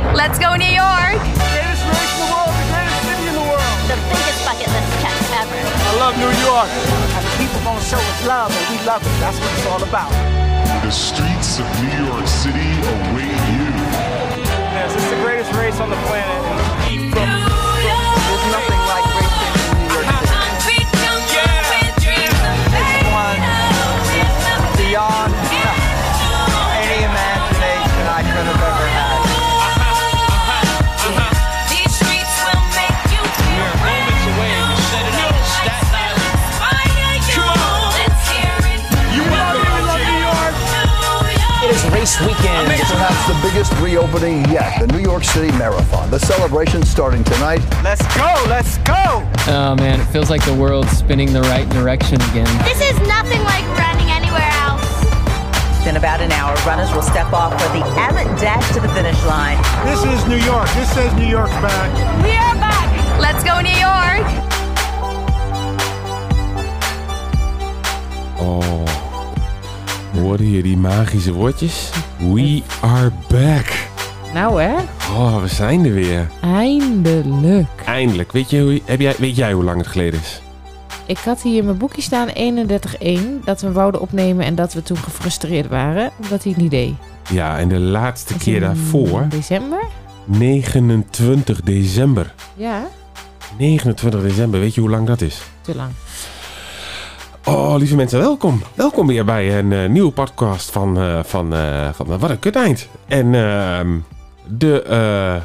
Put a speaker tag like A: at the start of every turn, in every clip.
A: Let's go New York!
B: Greatest race in the world, the greatest city in the world.
C: The biggest bucket list check ever.
B: I love New York. And the people gonna show us love, and we love it. That's what it's all about.
D: The streets of New York City await you.
B: Yes, it's the greatest race on the planet. There's nothing like racing in New York City. It's one beyond any imagination I could have ever had.
E: Perhaps the biggest reopening yet, the New York City Marathon. The celebration starting tonight.
B: Let's go, let's go!
F: Oh man, it feels like the world's spinning the right direction again.
C: This is nothing like running anywhere else.
G: In about an hour, runners will step off for the Abbott Dash to the finish line.
B: This is New York. This says New York's back.
A: We are back! Let's go New York!
H: Oh. Hoorde je die magische woordjes? We are back.
I: Nou hè,
H: Oh, we zijn er weer.
I: eindelijk.
H: Eindelijk. Weet, je, hoe- heb jij, weet jij hoe lang het geleden is?
I: Ik had hier in mijn boekje staan 31-1 dat we hem wouden opnemen en dat we toen gefrustreerd waren omdat hij het niet deed.
H: Ja, en de laatste
I: Dat is
H: keer
I: in
H: daarvoor,
I: December?
H: 29 december.
I: Ja,
H: 29 december, weet je hoe lang dat is?
I: te lang.
H: Oh, lieve mensen, welkom. Welkom weer bij een eh, nieuwe podcast van, eh, van, eh, van eh, Wat een Kut Eind. En ehm, de, eh,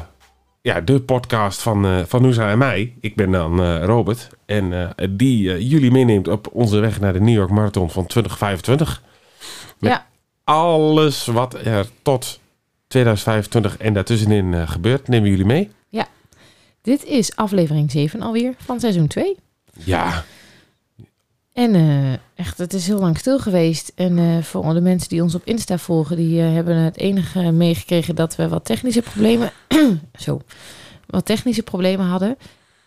H: ja, de podcast van, eh van Noosa en mij. Ik ben dan eh, Robert. En eh, die eh, jullie meeneemt op onze weg naar de New York Marathon van 2025. Met
I: Ja.
H: alles wat er tot 2025 en daartussenin eh, gebeurt, nemen jullie mee.
I: Dit is aflevering 7 alweer van seizoen 2.
H: Ja,
I: En eh, echt, het is heel lang stil geweest. En eh, voor de mensen die ons op Insta volgen, die eh, hebben het enige meegekregen dat we wat technische problemen. zo. Wat technische problemen hadden.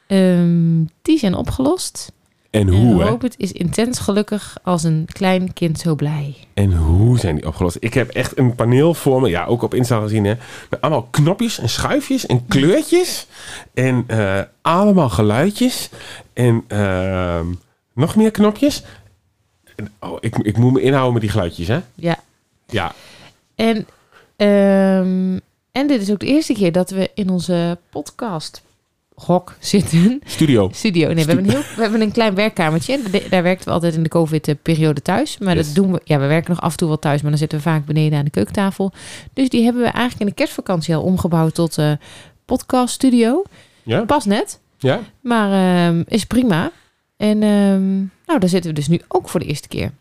I: Ehm, die zijn opgelost.
H: en
I: en
H: hoe hè?
I: Robert is intens gelukkig als een klein kind zo blij.
H: En hoe zijn die opgelost? Ik heb echt een paneel voor me, ja, ook op Insta gezien, hè, met allemaal knopjes en schuifjes en kleurtjes en eh, allemaal geluidjes en ehm, nog meer knopjes. En, oh, ik, ik moet me inhouden met die geluidjes, hè?
I: Ja.
H: Ja,
I: En, ehm, en dit is ook de eerste keer dat we in onze podcast hok zitten.
H: studio.
I: Studio. Nee, we hebben, een heel, we hebben een klein werkkamertje. En de- Daar werkten we altijd in de COVID-periode thuis. Maar
H: Yes.
I: dat doen we. Ja, we werken nog af en toe wel thuis, maar dan zitten we vaak beneden aan de keukentafel. Dus die hebben we eigenlijk in de kerstvakantie al omgebouwd tot eh podcast studio.
H: Ja,
I: Pas net,
H: ja.
I: maar ehm, is prima. En ehm, nou, daar zitten we dus nu ook voor de eerste keer.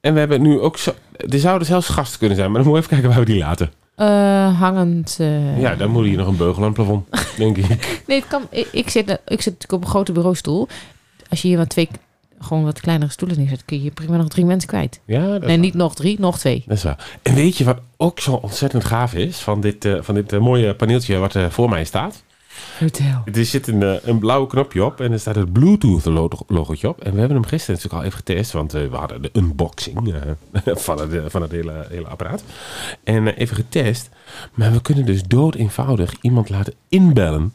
H: En we hebben nu ook zo... Er zouden zelfs gasten kunnen zijn, maar dan moet ik even kijken waar we die laten.
I: Eh, hangend. eh,
H: Ja, dan moet hier nog een beugel aan het plafond, denk ik.
I: Nee, het kan. Ik, ik zit, ik zit natuurlijk op een grote bureaustoel. Als je hier wat twee, gewoon wat kleinere stoelen neerzet, kun je hier prima nog drie mensen kwijt.
H: Ja, dat is
I: Nee, niet nog drie, nog twee.
H: Dat is waar. En weet je wat ook zo ontzettend gaaf is van dit, eh, van dit eh, mooie paneeltje wat eh, voor mij staat?
I: Vertel.
H: Er zit een, eh, een blauw knopje op en er staat het Bluetooth-logotje op. En we hebben hem gisteren natuurlijk al even getest, want eh, we hadden de unboxing eh, van het, eh, van het hele, hele apparaat. En eh, even getest. Maar we kunnen dus dood eenvoudig iemand laten inbellen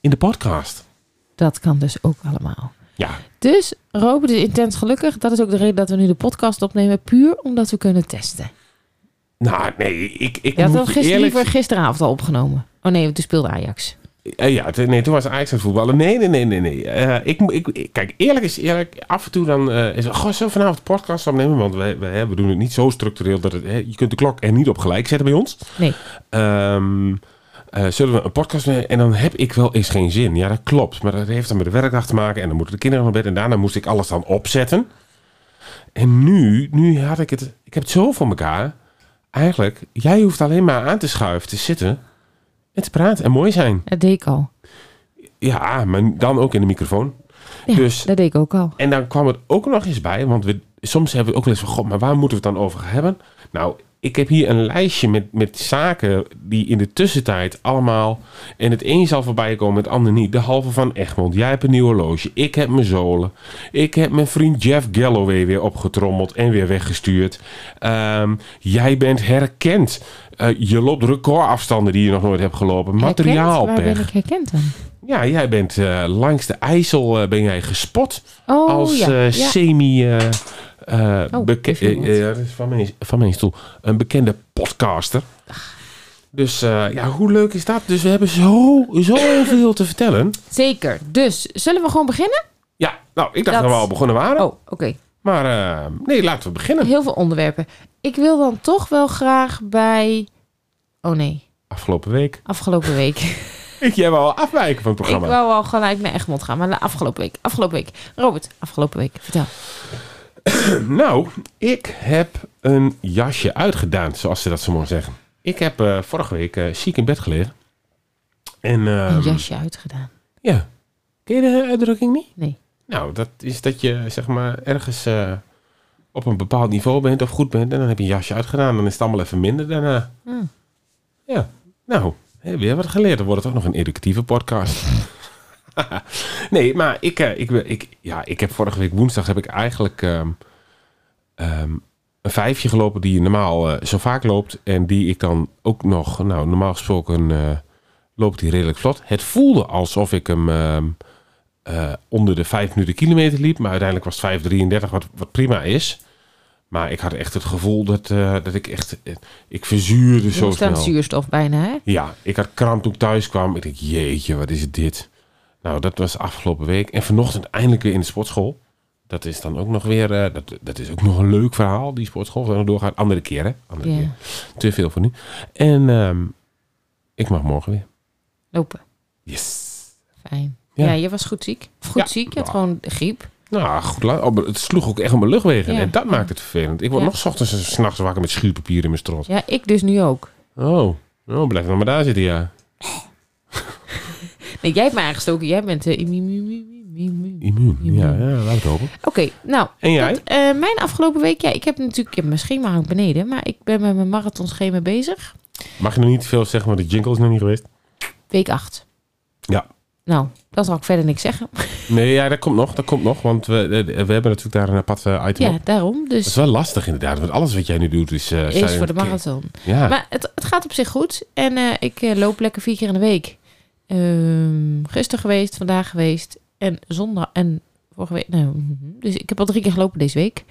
H: in de podcast.
I: Dat kan dus ook allemaal.
H: Ja,
I: Dus Robert is intens gelukkig. Dat is ook de reden dat we nu de podcast opnemen. Puur omdat we kunnen testen.
H: nou nee, ik, ik
I: Je had
H: moet
I: dat
H: je
I: gisteren
H: eerlijk-
I: liever gisteravond al opgenomen. Oh nee, want toen speelde Ajax.
H: Eh, ja, t- nee, toen was Ajax aan het voetballen. Nee, nee, nee, nee. nee. Eh, ik, mo- ik, ik- kijk, eerlijk is eerlijk. Af en toe dan eh, is het, goh, zullen we vanavond podcast opnemen? Want we, we, hè, we doen het niet zo structureel dat het, hè, je kunt de klok er niet op gelijk zetten bij ons.
I: Nee.
H: Ehm, eh, zullen we een podcast doen? En dan heb ik wel eens geen zin. Ja, dat klopt. Maar dat heeft dan met de werkdag te maken. En dan moeten de kinderen naar bed. En daarna moest ik alles dan opzetten. En nu, nu had ik het... Ik heb het zo voor elkaar. Eigenlijk, jij hoeft alleen maar aan te schuiven, te zitten... En te praten en mooi zijn.
I: Dat deed ik al.
H: Ja, maar dan ook in de microfoon.
I: Ja,
H: Dus-
I: dat deed ik ook al.
H: En dan kwam het ook nog eens bij, want we, soms hebben we ook wel eens van, god, maar waar moeten we het dan over hebben? Nou, ik heb hier een lijstje met, met zaken die in de tussentijd allemaal... En het een zal voorbij komen, het ander niet. De halve van Egmond. Jij hebt een nieuw horloge. Ik heb mijn zolen. Ik heb mijn vriend Jeff Galloway weer opgetrommeld en weer weggestuurd. Ehm, jij bent herkend. Eh, je loopt recordafstanden die je nog nooit hebt gelopen.
I: Herkend? Waar ben
H: Materiaalpech.
I: ik herkend dan?
H: Ja, jij bent eh, langs de IJssel eh, ben jij gespot
I: Oh,
H: als
I: ja.
H: eh,
I: ja.
H: semi. eh, eh,
I: Oh,
H: beke-
I: is er wat?
H: eh, eh, ja, dat is van mijn, van mijn stoel. Een bekende podcaster. Dus eh, ja, hoe leuk is dat? Dus we hebben zo, zoveel te vertellen.
I: Zeker. Dus, zullen we gewoon beginnen?
H: Ja, nou, ik dacht dat,
I: Dat-
H: we al begonnen waren.
I: Oh, oké.
H: Maar eh, nee, laten we beginnen.
I: Heel veel onderwerpen. Ik wil dan toch wel graag bij... Oh nee,
H: Afgelopen week.
I: afgelopen week.
H: Ik, jij wou al afwijken van het
I: ik
H: programma.
I: wou al gelijk naar Egmond gaan, maar de afgelopen week. Afgelopen week. Robert, afgelopen week. Vertel.
H: Nou, ik heb een jasje uitgedaan, zoals ze dat zo mooi zeggen. Ik heb eh, vorige week eh, ziek in bed gelegen. En ehm,
I: Een jasje uitgedaan.
H: ja, ken je de uitdrukking niet?
I: Nee.
H: Nou, dat is dat je zeg maar ergens eh, op een bepaald niveau bent of goed bent. En dan heb je een jasje uitgedaan. Dan is het allemaal even minder daarna.
I: Hmm.
H: Ja, nou, hè, weer wat geleerd. Dan wordt het ook nog een educatieve podcast. nee, maar ik, eh, ik, wil- ik, ja, ik heb vorige week woensdag heb ik eigenlijk ehm, ehm, een vijfje gelopen die je normaal eh, zo vaak loopt. En die ik dan ook nog, nou normaal gesproken eh, loopt die redelijk vlot. Het voelde alsof ik hem... ehm, eh, onder de 5 minuten kilometer liep. Maar uiteindelijk was het 5,33, wat, wat prima is. Maar ik had echt het gevoel dat, eh, dat ik echt... eh, ik verzuurde
I: Je
H: zo
I: moest aan
H: snel.
I: zuurstof bijna, hè?
H: Ja, ik had kramp toen ik thuis kwam. Ik dacht, jeetje, wat is dit? Nou, dat was afgelopen week. En vanochtend eindelijk weer in de sportschool. Dat is dan ook nog weer... eh, dat, dat is ook nog een leuk verhaal, die sportschool. Dat nog doorgaat. Andere keer, hè? Andere
I: Ja.
H: keer. Te veel voor nu. En ehm, ik mag morgen weer.
I: Lopen.
H: Yes!
I: Fijn.
H: Ja.
I: Ja. je was goed ziek. Of goed
H: Ja.
I: ziek, je had
H: Ja.
I: gewoon griep.
H: Nou, goed, la- oh, maar het sloeg ook echt op mijn luchtwegen.
I: Ja.
H: En dat maakt het vervelend. Ik word
I: Ja.
H: nog 's ochtends en 's nachts wakker met schuurpapier in mijn strot.
I: Ja, ik dus nu ook.
H: Oh, oh, blijf nog maar daar zitten, ja.
I: Nee, jij hebt me aangestoken. Jij bent eh, de immuun.
H: Immuun.
I: Immuun.
H: Ja, ja, laat het hopen.
I: Oké, nou.
H: En jij?
I: dat, eh, mijn afgelopen week, ja, ik heb natuurlijk, ik heb mijn schema hangt beneden, maar ik ben met mijn marathonschema bezig.
H: Mag je nog niet veel zeggen, want de jingle is nog niet geweest.
I: Week 8.
H: Ja.
I: Nou, dan zal ik verder niks zeggen.
H: Nee, ja, dat komt nog, dat komt nog. Want we, eh, we hebben natuurlijk daar een apart eh, item
I: Ja,
H: op.
I: daarom.
H: Dat is
I: Dus
H: wel lastig inderdaad, want alles wat jij nu doet is... eh, zijn-
I: is voor de marathon.
H: Ja,
I: Maar het, het gaat op zich goed. En eh, ik eh, loop lekker vier keer in de week. Ehm gisteren geweest, vandaag geweest. En zondag. En vorige week. Nou, mhm. dus ik heb al drie keer gelopen deze week.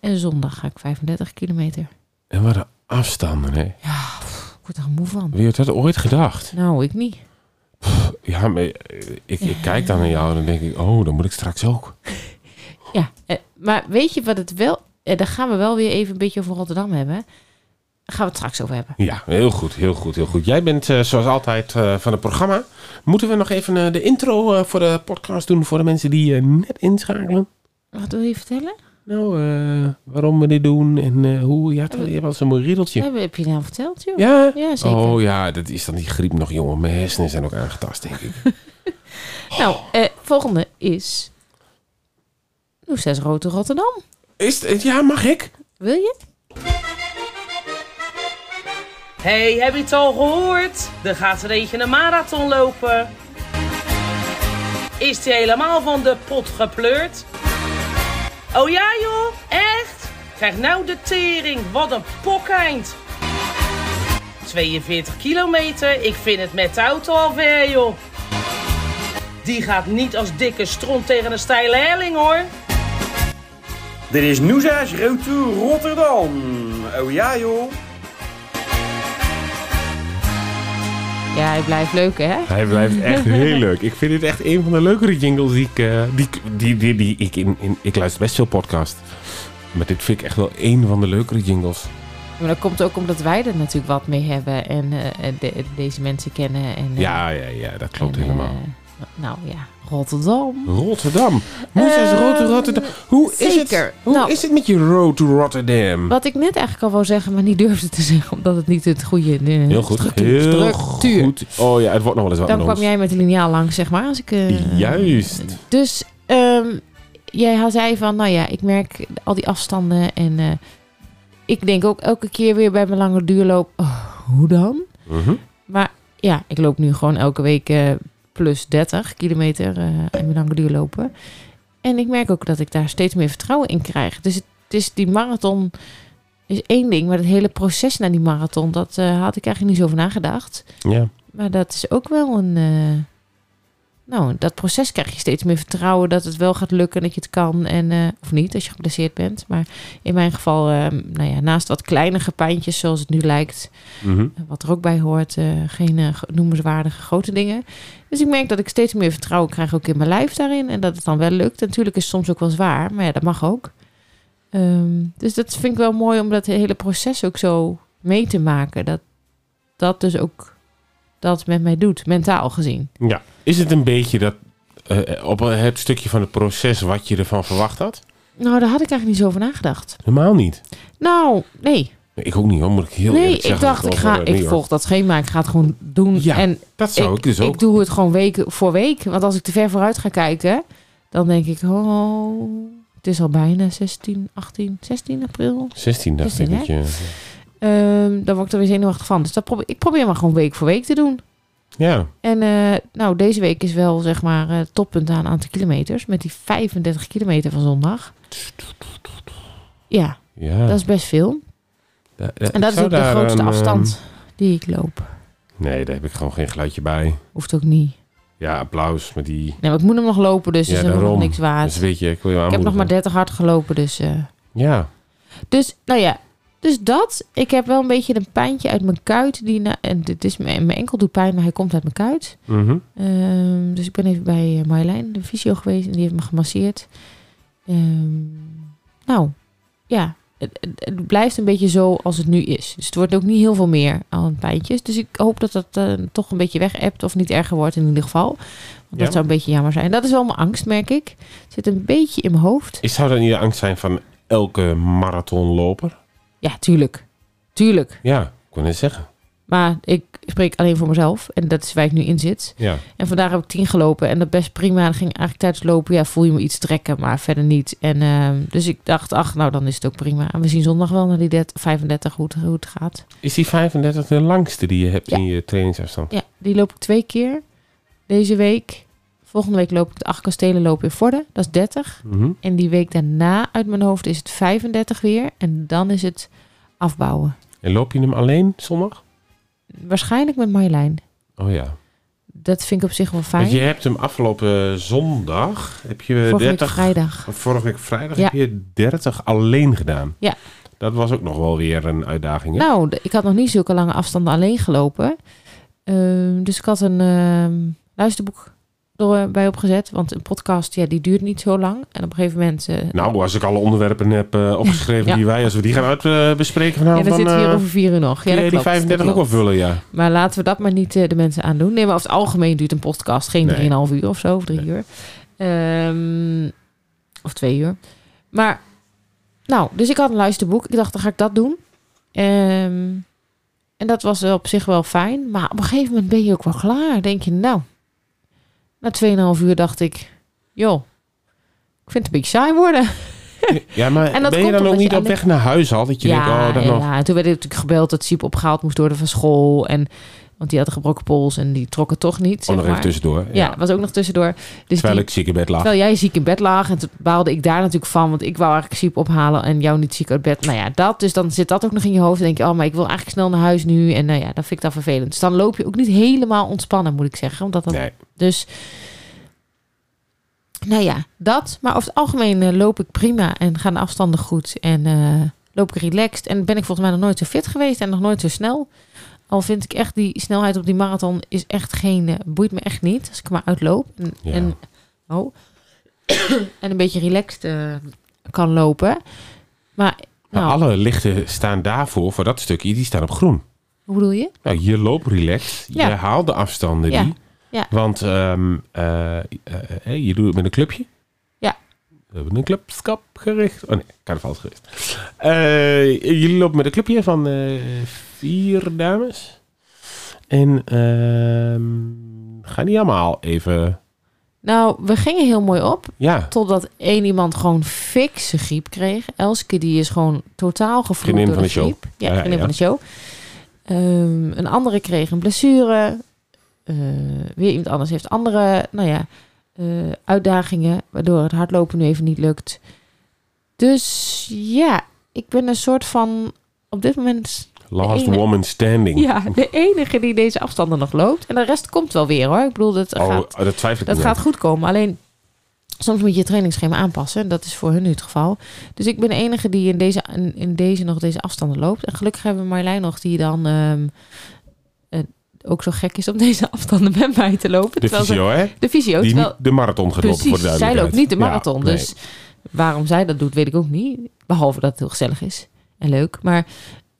I: En zondag ga ik 35 kilometer.
H: en wat een afstanden, hè.
I: Ik word er moe van.
H: Wie had dat ooit gedacht?
I: Nou, ik niet.
H: Ja, maar eh, ik, ik kijk dan naar jou en dan denk ik, oh, dan moet ik straks ook.
I: Ja, eh, maar weet je wat het wel... eh, daar gaan we wel weer even een beetje over Rotterdam hebben. Daar gaan we het straks over hebben.
H: Ja, heel goed, heel goed, heel goed. Jij bent eh, zoals altijd eh, van het programma. Moeten we nog even eh, de intro eh, voor de podcast doen voor de mensen die eh, net inschakelen?
I: Wat wil je vertellen?
H: Nou, eh, waarom we dit doen en eh, hoe. Ja, je hebt wel zo'n riedeltje.
I: Heb, heb je nou verteld, joh?
H: Ja?
I: Ja, zeker.
H: Oh ja, dat is dan die griep nog, jongen. Mijn hersenen zijn ook aangetast, denk ik.
I: Nou, eh, volgende is... Noes 6 Rote Rotterdam.
H: Is het, ja, mag ik?
I: Wil je?
J: Hey, heb je het al gehoord? Er gaat regen een marathon lopen. Is die helemaal van de pot gepleurd? Oh ja joh, echt? Krijg nou de tering, wat een pokkeind. 42 kilometer, ik vind het met de auto al ver joh. Die gaat niet als dikke stront tegen een steile helling hoor.
K: Dit is Noesa's Road to Rotterdam. Oh ja joh.
I: Ja, hij blijft leuk, hè?
H: Hij blijft echt heel leuk. Ik vind dit echt een van de leukere jingles die ik... eh, die, ik- die, die, die, ik, in, in, ik luister best veel podcast. Maar dit vind ik echt wel een van de leukere jingles.
I: Maar dat komt ook omdat wij er natuurlijk wat mee hebben en eh, eh, de- deze mensen kennen. En, eh,
H: Ja, ja, ja, dat klopt
I: en, eh,
H: helemaal.
I: nou ja, Rotterdam.
H: Rotterdam. Moes is
I: Ehm,
H: Road to Rotterdam. Hoe, is het,
I: zeker.
H: hoe
I: Nou.
H: is het met je Road to Rotterdam?
I: Wat ik net eigenlijk al wou zeggen, maar niet durfde te zeggen, omdat het niet het goede eh,
H: Heel goed.
I: structuur.
H: Heel
I: structuur.
H: goed. Oh ja, het wordt nog wel eens wat
I: Dan
H: met
I: kwam
H: ons.
I: jij met de liniaal langs, zeg maar. Als ik, eh,
H: Juist.
I: Dus ehm, jij had zei van, nou ja, ik merk al die afstanden en eh, ik denk ook elke keer weer bij mijn lange duurloop, oh, hoe dan?
H: Mhm.
I: Maar ja, ik loop nu gewoon elke week eh, plus 30 kilometer eh in mijn lange duur lopen. En ik merk ook dat ik daar steeds meer vertrouwen in krijg. Dus het is die marathon is één ding, maar het hele proces naar die marathon, dat eh, had ik eigenlijk niet zo over nagedacht.
H: Ja.
I: Maar dat is ook wel een. eh, nou, dat proces krijg je steeds meer vertrouwen dat het wel gaat lukken, dat je het kan en eh, of niet als je geblesseerd bent. Maar in mijn geval, eh, nou ja, naast wat kleinere pijntjes zoals het nu lijkt,
H: Mhm.
I: eh, wat er ook bij hoort, eh, geen eh, ge- noemenswaardige grote dingen. Dus ik merk dat ik steeds meer vertrouwen krijg ook in mijn lijf daarin en dat het dan wel lukt. En natuurlijk is het soms ook wel zwaar, maar ja, dat mag ook. Ehm, dus dat vind ik wel mooi om dat hele proces ook zo mee te maken. Dat dat dus ook dat met mij doet, mentaal gezien.
H: Ja. Is het een beetje dat eh, op het stukje van het proces wat je ervan verwacht had?
I: Nou, daar had ik eigenlijk niet zo over nagedacht.
H: Helemaal niet.
I: Nou, nee.
H: Nee, Ik ook niet hoor, moet ik heel
I: nee,
H: eerlijk
I: ik
H: zeggen.
I: dacht, ik,
H: over,
I: ga,
H: eh,
I: ik
H: New York.
I: volg dat schema, ik ga het gewoon doen.
H: Ja,
I: en
H: dat zou ik dus ook.
I: Ik doe het gewoon week voor week. Want als ik te ver vooruit ga kijken, dan denk ik, oh, het is al bijna 16, 18, 16 april.
H: 16 dacht ik
I: 16,
H: dat
I: hè?
H: je...
I: Ehm, dan word ik er weer zenuwachtig van. Dus dat probeer, ik probeer maar gewoon week voor week te doen.
H: Ja.
I: En eh, nou, deze week is wel zeg maar eh, toppunt aan aantal kilometers. Met die 35 kilometer van zondag. Ja,
H: Ja.
I: dat is best veel.
H: Da- da-
I: En dat
H: ik
I: is
H: zou
I: ook de
H: daar
I: grootste
H: een, eh,
I: afstand die ik loop.
H: ehm, nee, daar heb ik gewoon geen geluidje bij.
I: Hoeft ook niet.
H: Ja, applaus met die...
I: Nee, maar ik moet hem nog lopen, dus
H: ja,
I: is helemaal nog
H: daarom.
I: niks waard.
H: Dus weet je, ik wil je
I: ik heb nog maar 30 hard gelopen, dus... eh,
H: Ja.
I: dus, nou ja. Dus dat. Ik heb wel een beetje een pijntje uit mijn kuit. Die na, en dit is mijn, mijn enkel doet pijn, maar hij komt uit mijn kuit.
H: Mhm.
I: Ehm, dus ik ben even bij eh, Marjolein, de fysio geweest. En die heeft me gemasseerd. Ehm, nou, ja. Het, het- het blijft een beetje zo als het nu is. Dus het wordt ook niet heel veel meer aan pijntjes. Dus ik hoop dat dat eh, toch een beetje weg ebt of niet erger wordt in ieder geval. Want
H: Ja.
I: dat zou een beetje jammer zijn. Dat is wel mijn angst, merk ik. Het zit een beetje in mijn hoofd.
H: Is zou dat niet de angst zijn van elke marathonloper?
I: Ja, tuurlijk. Tuurlijk.
H: Ja, ik kon het zeggen.
I: Maar ik spreek alleen voor mezelf. En dat is waar ik nu in zit.
H: Ja.
I: En vandaag heb ik tien gelopen. En dat best prima. Dan ging ik eigenlijk tijdens het lopen. Ja, voel je me iets trekken. Maar verder niet. En, ehm, dus ik dacht, ach, nou dan is het ook prima. En we zien zondag wel naar die 30, 35 hoe het, hoe het gaat.
H: Is die 35 de langste die je hebt in je trainingsafstand?
I: Ja, die loop ik twee keer. Deze week. Volgende week loop ik de acht kastelen lopen in Vorden. Dat is 30.
H: Mhm.
I: En die week daarna uit mijn hoofd is het 35 weer. En dan is het afbouwen.
H: En loop je hem alleen zondag?
I: Waarschijnlijk met Marjolein.
H: Oh ja.
I: Dat vind ik op zich wel fijn.
H: Want je hebt hem afgelopen zondag, heb je
I: Vorige week
H: 30...
I: vrijdag.
H: Vorige week vrijdag
I: Ja.
H: heb je 30 alleen gedaan.
I: Ja.
H: Dat was ook nog wel weer een uitdaging. hè?
I: Nou, d- ik had nog niet zulke lange afstanden alleen gelopen. Ehm, dus ik had een ehm, luisterboek erbij opgezet. Want een podcast, ja, die duurt niet zo lang. En op een gegeven moment... eh,
H: Nou, als ik alle onderwerpen heb eh, opgeschreven
I: Ja.
H: die wij, als we die gaan uit, eh, bespreken
I: ja,
H: vanavond,
I: dan zitten we hier
H: eh,
I: over vier uur nog. Ja,
H: kun
I: dat
H: jij die
I: klopt, dat
H: 35 ook
I: klopt.
H: wel vullen, ja.
I: Maar laten we dat maar niet eh, de mensen aandoen. Nee, maar over het algemeen duurt een podcast geen
H: Nee.
I: 3,5 uur of zo, of drie uur. Ehm, of twee uur. Maar, nou, dus ik had een luisterboek. Ik dacht, dan ga ik dat doen. Ehm, en dat was wel op zich wel fijn. Maar op een gegeven moment ben je ook wel klaar. Denk je, nou, na 2,5 uur dacht ik, joh, ik vind het een beetje saai worden.
H: Ja, maar
I: En dat
H: ben je
I: komt
H: dan ook
I: omdat
H: niet
I: je
H: op weg naar huis al? Dat je denkt, oh, dat
I: ja,
H: nog.
I: ja. En toen werd ik natuurlijk gebeld dat Siep opgehaald moest worden van school. En, want die had een gebroken pols en die trok het toch niet.
H: Oh,
I: Zeg
H: nog even
I: maar.
H: tussendoor.
I: Ja, was ook nog tussendoor. Dus
H: Terwijl
I: die-
H: ik ziek in bed lag.
I: terwijl jij ziek in bed lag. En toen baalde ik daar natuurlijk van. Want ik wou eigenlijk Siep ophalen en jou niet ziek uit bed. Nou ja, dat. Dus dan zit dat ook nog in je hoofd. Dan denk je, oh, maar ik wil eigenlijk snel naar huis nu. En nou ja, dat vind ik dan vervelend. Dus dan loop je ook niet helemaal ontspannen, moet ik zeggen. Omdat dat
H: Nee.
I: dus, nou ja, dat. Maar over het algemeen eh, loop ik prima en gaan de afstanden goed. En eh, loop ik relaxed. En ben ik volgens mij nog nooit zo fit geweest en nog nooit zo snel. Al vind ik echt die snelheid op die marathon is echt geen... eh, boeit me echt niet als ik maar uitloop. En,
H: Ja.
I: en, oh, en een beetje relaxed eh, kan lopen. Maar,
H: Maar
I: nou,
H: alle lichten staan daarvoor, voor dat stukje, die staan op groen.
I: hoe bedoel je?
H: Nou, je loopt relaxed.
I: Ja.
H: Je haalt de afstanden
I: Ja.
H: die.
I: Ja.
H: Want ehm, eh, eh, eh, je doet het met een clubje.
I: Ja.
H: We hebben een clubskap gericht. Oh nee, carnavalsgericht. Eh jullie lopen met een clubje van eh, vier dames. En ehm, gaan die allemaal even
I: Nou, we gingen heel mooi op.
H: Ja.
I: Totdat één iemand gewoon fikse griep kreeg. Elske, die is gewoon totaal gevloed
H: Vriendin
I: door
H: van
I: de
H: de show.
I: griep. Ja,
H: Ja,
I: vriendin
H: ja.
I: van de show. Ehm, een andere kreeg een blessure. Eh, weer iemand anders heeft andere nou ja, eh, uitdagingen. Waardoor het hardlopen nu even niet lukt. Dus ja, ik ben een soort van op dit moment. de
H: Last
I: ene-
H: woman standing.
I: Ja, de enige die deze afstanden nog loopt. En de rest komt wel weer hoor. Ik bedoel, dat
H: Oh,
I: gaat
H: dat twijfel ik
I: dat
H: niet
I: gaat
H: aan.
I: goed komen. Alleen soms moet je je trainingsschema aanpassen. En dat is voor hun nu het geval. Dus ik ben de enige die in deze, in, in deze nog deze afstanden loopt. En gelukkig hebben we Marlijn nog die dan ehm, eh, ook zo gek is om deze afstanden met mij te lopen.
H: De
I: Terwijl ze-
H: fysio, hè?
I: De fysio.
H: Die
I: terwijl-
H: niet de marathon gaat lopen,
I: Precies,
H: voor de
I: zij
H: duidelijkheid.
I: loopt niet de
H: Ja,
I: marathon.
H: nee.
I: Dus waarom zij dat doet, weet ik ook niet. Behalve dat het heel gezellig is en leuk. Maar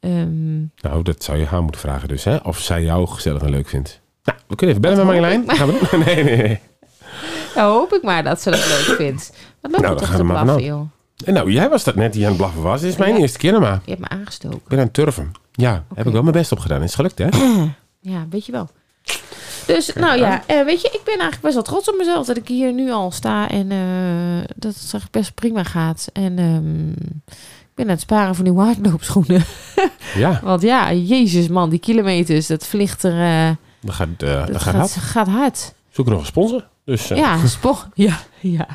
I: ehm,
H: Nou, dat zou je haar moeten vragen dus, hè? Of zij jou gezellig en leuk vindt. Nou, we kunnen even bellen met Marjolein. Gaan we doen? Nee, nee, nee.
I: nou hoop ik maar dat ze dat leuk vindt. Wat loopt
H: Nou,
I: nou,
H: dan
I: toch
H: gaan we
I: te
H: maar
I: blaffen,
H: vanaf.
I: joh.
H: En nou, jij was dat net die aan het blaffen was. Dit is mijn
I: Ja.
H: eerste keer, maar
I: Je hebt me aangestoken.
H: ik ben aan het turven. Ja, heb ik wel mijn best op gedaan. Is gelukt, hè?
I: Ja, weet je wel. Dus nou ja, eh, weet je, ik ben eigenlijk best wel trots op mezelf dat ik hier nu al sta en eh, dat het eigenlijk best prima gaat. En ehm, ik ben aan het sparen voor nieuwe hardloopschoenen.
H: Ja,
I: Want ja, jezus man, die kilometers, dat vliegt er, eh,
H: dat gaat, eh dat gaat
I: dat gaat,
H: hard.
I: gaat hard.
H: Zoeken nog een sponsor. Dus, eh,
I: Ja, spo ja, ja.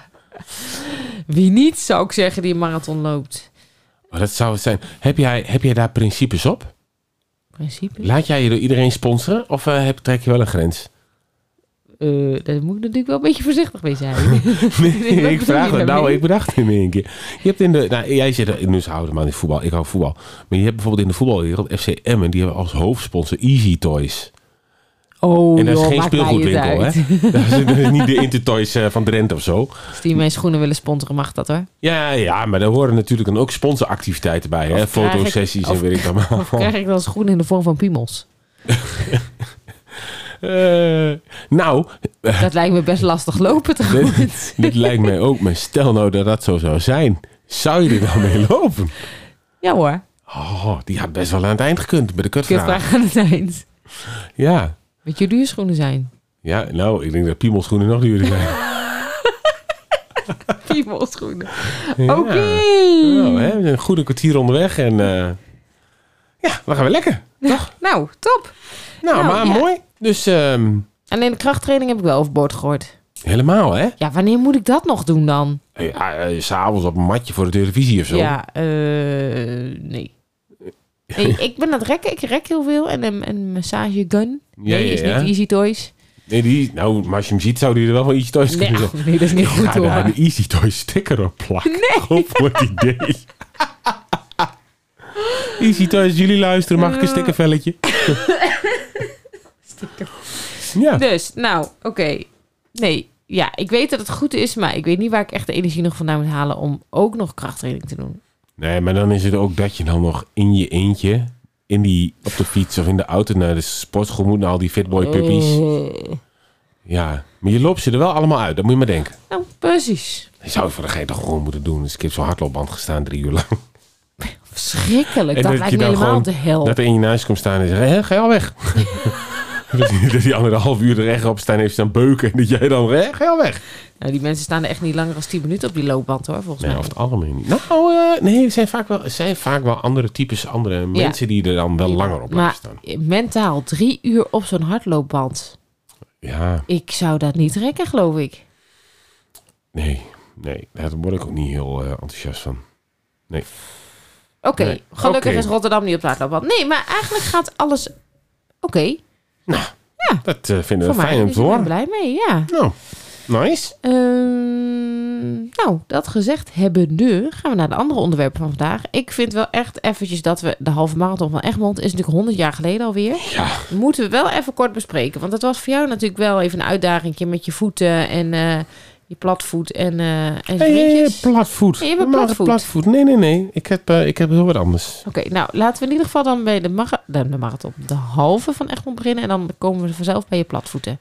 I: Wie niet, zou ik zeggen, die een marathon loopt.
H: maar dat zou het zijn. Heb jij, heb jij daar principes op?
I: Principe.
H: Laat jij je door iedereen sponsoren? Of eh, heb, trek je wel een grens?
I: Eh, daar moet ik natuurlijk wel een beetje voorzichtig mee zijn.
H: Nee,
I: wat
H: ik
I: bedoel
H: vraag
I: je
H: het. Nou,
I: daarmee?
H: ik bedacht het in één keer. Je hebt in de, nou, jij zit er, nu ze houden maar niet voetbal. Ik hou voetbal. Maar je hebt bijvoorbeeld in de voetbalwereld FC Emmen. Die hebben als hoofdsponsor Easy Toys.
I: Oh,
H: en dat is
I: joh,
H: geen
I: maakt mij
H: speelgoedwinkel,
I: het
H: hè?
I: uit.
H: Dat is, dat is niet de Intertoys eh, van Drenthe of zo.
I: Als die mijn schoenen willen sponsoren, mag dat hoor.
H: Ja, ja, maar daar horen natuurlijk dan ook sponsoractiviteiten bij, hè?
I: krijg ik-
H: Fotosessies
I: of-
H: en weet ik allemaal.
I: Of krijg ik dan schoenen in de vorm van piemels?
H: Eh, nou, eh,
I: Dat lijkt me best lastig lopen trouwens.
H: dit, dit lijkt mij ook, maar stel nou dat dat zo zou zijn. Zou je er dan mee lopen?
I: Ja hoor,
H: Oh, die had best wel aan het eind gekund bij de kutvraag.
I: kutvraag aan het eind.
H: Ja.
I: Weet je hoe duur schoenen zijn?
H: ja, nou, ik denk dat piemelschoenen nog duurder zijn.
I: Piemelschoenen.
H: Ja.
I: Oké.
H: Nou, hè, we zijn een goede kwartier onderweg en eh, ja, we gaan weer lekker.
I: Nou, top.
H: Nou,
I: Nou,
H: maar
I: ja.
H: mooi. Dus ehm,
I: Alleen de krachttraining heb ik wel overboord gegooid.
H: helemaal, hè?
I: Ja, wanneer moet ik dat nog doen dan?
H: Ja, eh, s'avonds op een matje voor de televisie of zo.
I: Ja, eh, nee. Nee, ik ben aan het rekken. Ik rek heel veel. En een, een massagegun. Nee,
H: ja,
I: is
H: ja.
I: niet Easy Toys.
H: Nee, die, nou, maar als je hem ziet, zou die er wel van Easy Toys
I: Nee,
H: kunnen zijn.
I: ach, nee, dat is niet
H: Ik
I: goed
H: ga
I: hoor.
H: daar een Easy Toys sticker op plakken. Nee. Op wat idee. Easy Toys, jullie luisteren, mag ik een stickervelletje? Ja,
I: Dus, nou, oké. Nee, ja, ik weet dat het goed is, maar ik weet niet waar ik echt de energie nog vandaan moet halen om ook nog krachttraining te doen.
H: nee, maar dan is het ook dat je dan nog in je eentje... In die, op de fiets of in de auto naar de sportschool moet... naar al die
I: Mm.
H: fitboy puppies. Ja, maar je loopt ze er wel allemaal uit. Dat moet je maar denken.
I: Nou, precies.
H: Ik zou het voor de geit toch gewoon moeten doen. Dus ik heb zo'n hardloopband gestaan drie uur lang.
I: Verschrikkelijk. Dat lijkt me helemaal de hel.
H: dat er in je naast komt staan en zegt, "Hè, ga je al weg? dat, die, dat die anderhalf uur er echt op staan heeft staan beuken. En dat jij dan, "Hè, ga je al weg?
I: Nou, die mensen staan er echt niet langer dan 10 minuten op die loopband hoor, volgens
H: Nee,
I: mij.
H: of het algemeen niet. Nou, eh, nee, er zijn vaak, wel, er zijn vaak wel andere types, andere mensen die er dan wel langer op
I: maar
H: blijven staan.
I: mentaal drie uur op zo'n hardloopband.
H: Ja,
I: Ik zou dat niet rekken, geloof ik.
H: nee, nee. Daar word ik ook niet heel eh, enthousiast van. Nee.
I: Oké,
H: Nee,
I: gelukkig
H: oké.
I: is Rotterdam niet op de hardloopband. Nee, maar eigenlijk gaat alles... Oké,
H: Dat eh, vinden
I: voor
H: we
I: mij.
H: fijn om
I: ik
H: te
I: ben er
H: horen.
I: blij mee, ja.
H: Nou, nice.
I: Ehm, nou, dat gezegd hebben nu, gaan we naar de andere onderwerpen van vandaag. Ik vind wel echt eventjes dat we de halve marathon van Egmond is natuurlijk 100 jaar geleden alweer.
H: Ja.
I: Moeten we wel even kort bespreken, want dat was voor jou natuurlijk wel even een uitdaging met je voeten en eh, je platvoet en eh en je
H: Hey,
I: vriendjes.
H: platvoet.
I: Ja, je bent
H: Normaal
I: platvoet.
H: platvoet. Nee, nee, nee. Ik heb, eh, ik heb heel wat anders.
I: Oké, nou laten we in ieder geval dan bij de, mara- de, de marathon, de halve van Egmond beginnen en dan komen we vanzelf bij je platvoeten.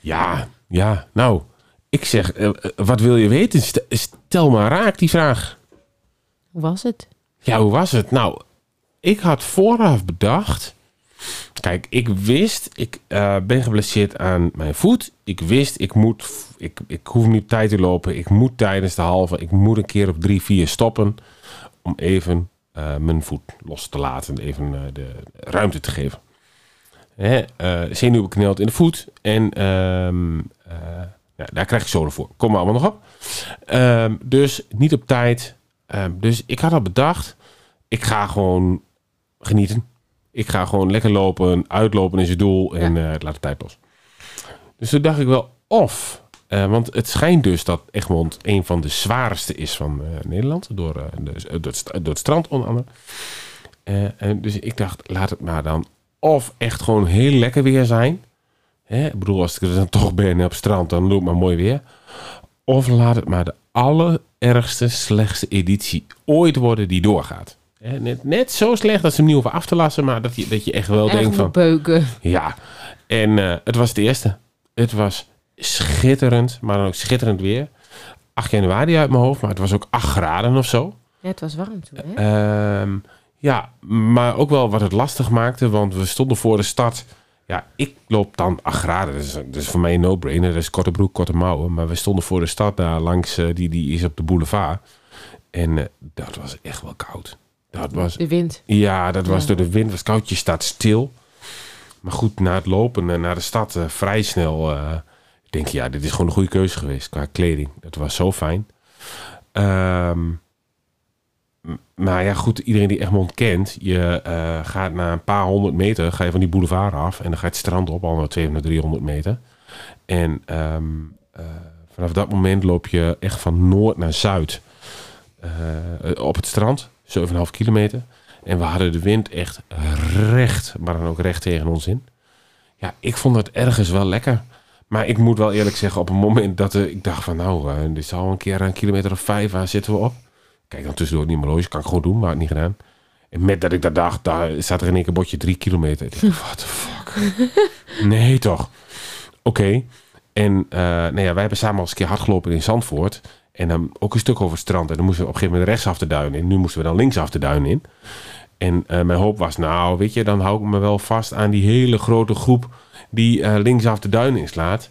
H: Ja, ja. Nou, ik zeg, eh, eh, wat wil je weten? St- Stel maar raak die vraag.
I: Hoe was het?
H: Ja, hoe was het? Nou, ik had vooraf bedacht Kijk, ik wist, ik eh, ben geblesseerd aan mijn voet. Ik wist, ik moet, ik, ik hoef nu tijd te lopen. Ik moet tijdens de halve, ik moet een keer op drie, vier stoppen. Om even eh, mijn voet los te laten. Even eh, de ruimte te geven. Hè, eh, zenuwen knelt in de voet. En ehm, eh, ja, daar krijg ik zolen voor. Kom maar allemaal nog op. Ehm, dus niet op tijd. Ehm, dus ik had al bedacht. Ik ga gewoon genieten. Ik ga gewoon lekker lopen. Uitlopen is het doel. En eh, laat de tijd los. Dus toen dacht ik wel of. eh, want het schijnt dus dat Egmond een van de zwaarste is van eh, Nederland. Door, eh, de- door, het, st- door het strand onder andere. Eh, en dus ik dacht, laat het maar dan of echt gewoon heel lekker weer zijn. Hè? Ik bedoel, als ik er dan toch ben op het strand, dan doe ik maar mooi weer. Of laat het maar de allerergste, slechtste editie ooit worden die doorgaat. Hè, Net, net zo slecht dat ze hem niet hoeven af te lassen, maar dat je, dat je echt wel
I: Erg
H: denkt
I: moet
H: van...
I: beuken.
H: Ja, en eh, het was het eerste. Het was schitterend, maar dan ook schitterend weer. 8 januari uit mijn hoofd, maar het was ook 8 graden of zo.
I: Ja, het was warm toen, hè?
H: Ehm, ja, maar ook wel wat het lastig maakte, want we stonden voor de stad. Ja, ik loop dan 8 graden, dus dat is voor mij een no-brainer. Dat is korte broek, korte mouwen. Maar we stonden voor de stad daar langs, eh, die, die is op de boulevard. En eh, dat was echt wel koud. Dat was
I: De wind.
H: ja, dat was
I: Ja.
H: door de wind. was koud. Je staat stil. Maar goed, na het lopen eh, naar de stad eh, vrij snel... eh, ik denk ja, dit is gewoon een goede keuze geweest qua kleding. Dat was zo fijn. Ehm, m- maar ja, goed, iedereen die Egmond kent... je eh, gaat na een paar honderd meter... ga je van die boulevard af... en dan ga je het strand op, al naar 200, 300 meter. En ehm, eh, vanaf dat moment loop je echt van noord naar zuid... eh, op het strand, 7,5 kilometer... En we hadden de wind echt recht, maar dan ook recht tegen ons in. Ja, ik vond het ergens wel lekker. Maar ik moet wel eerlijk zeggen, op een moment dat eh, ik dacht van... nou, eh, dit zal een keer een kilometer of vijf, aan zitten we op? Kijk dan tussendoor niet meer loge, kan ik gewoon doen, maar het niet gedaan. En met dat ik dat dacht, daar staat er in één keer bordje drie kilometer. Ik dacht, what the fuck? Nee, toch? Oké. En eh nou ja, wij hebben samen al eens een keer hard gelopen in Zandvoort. En dan ook een stuk over het strand. En dan moesten we op een gegeven moment rechtsaf de duin in. Nu moesten we dan linksaf de duin in. En eh, mijn hoop was, nou, weet je, dan hou ik me wel vast aan die hele grote groep die eh, linksaf de duin inslaat.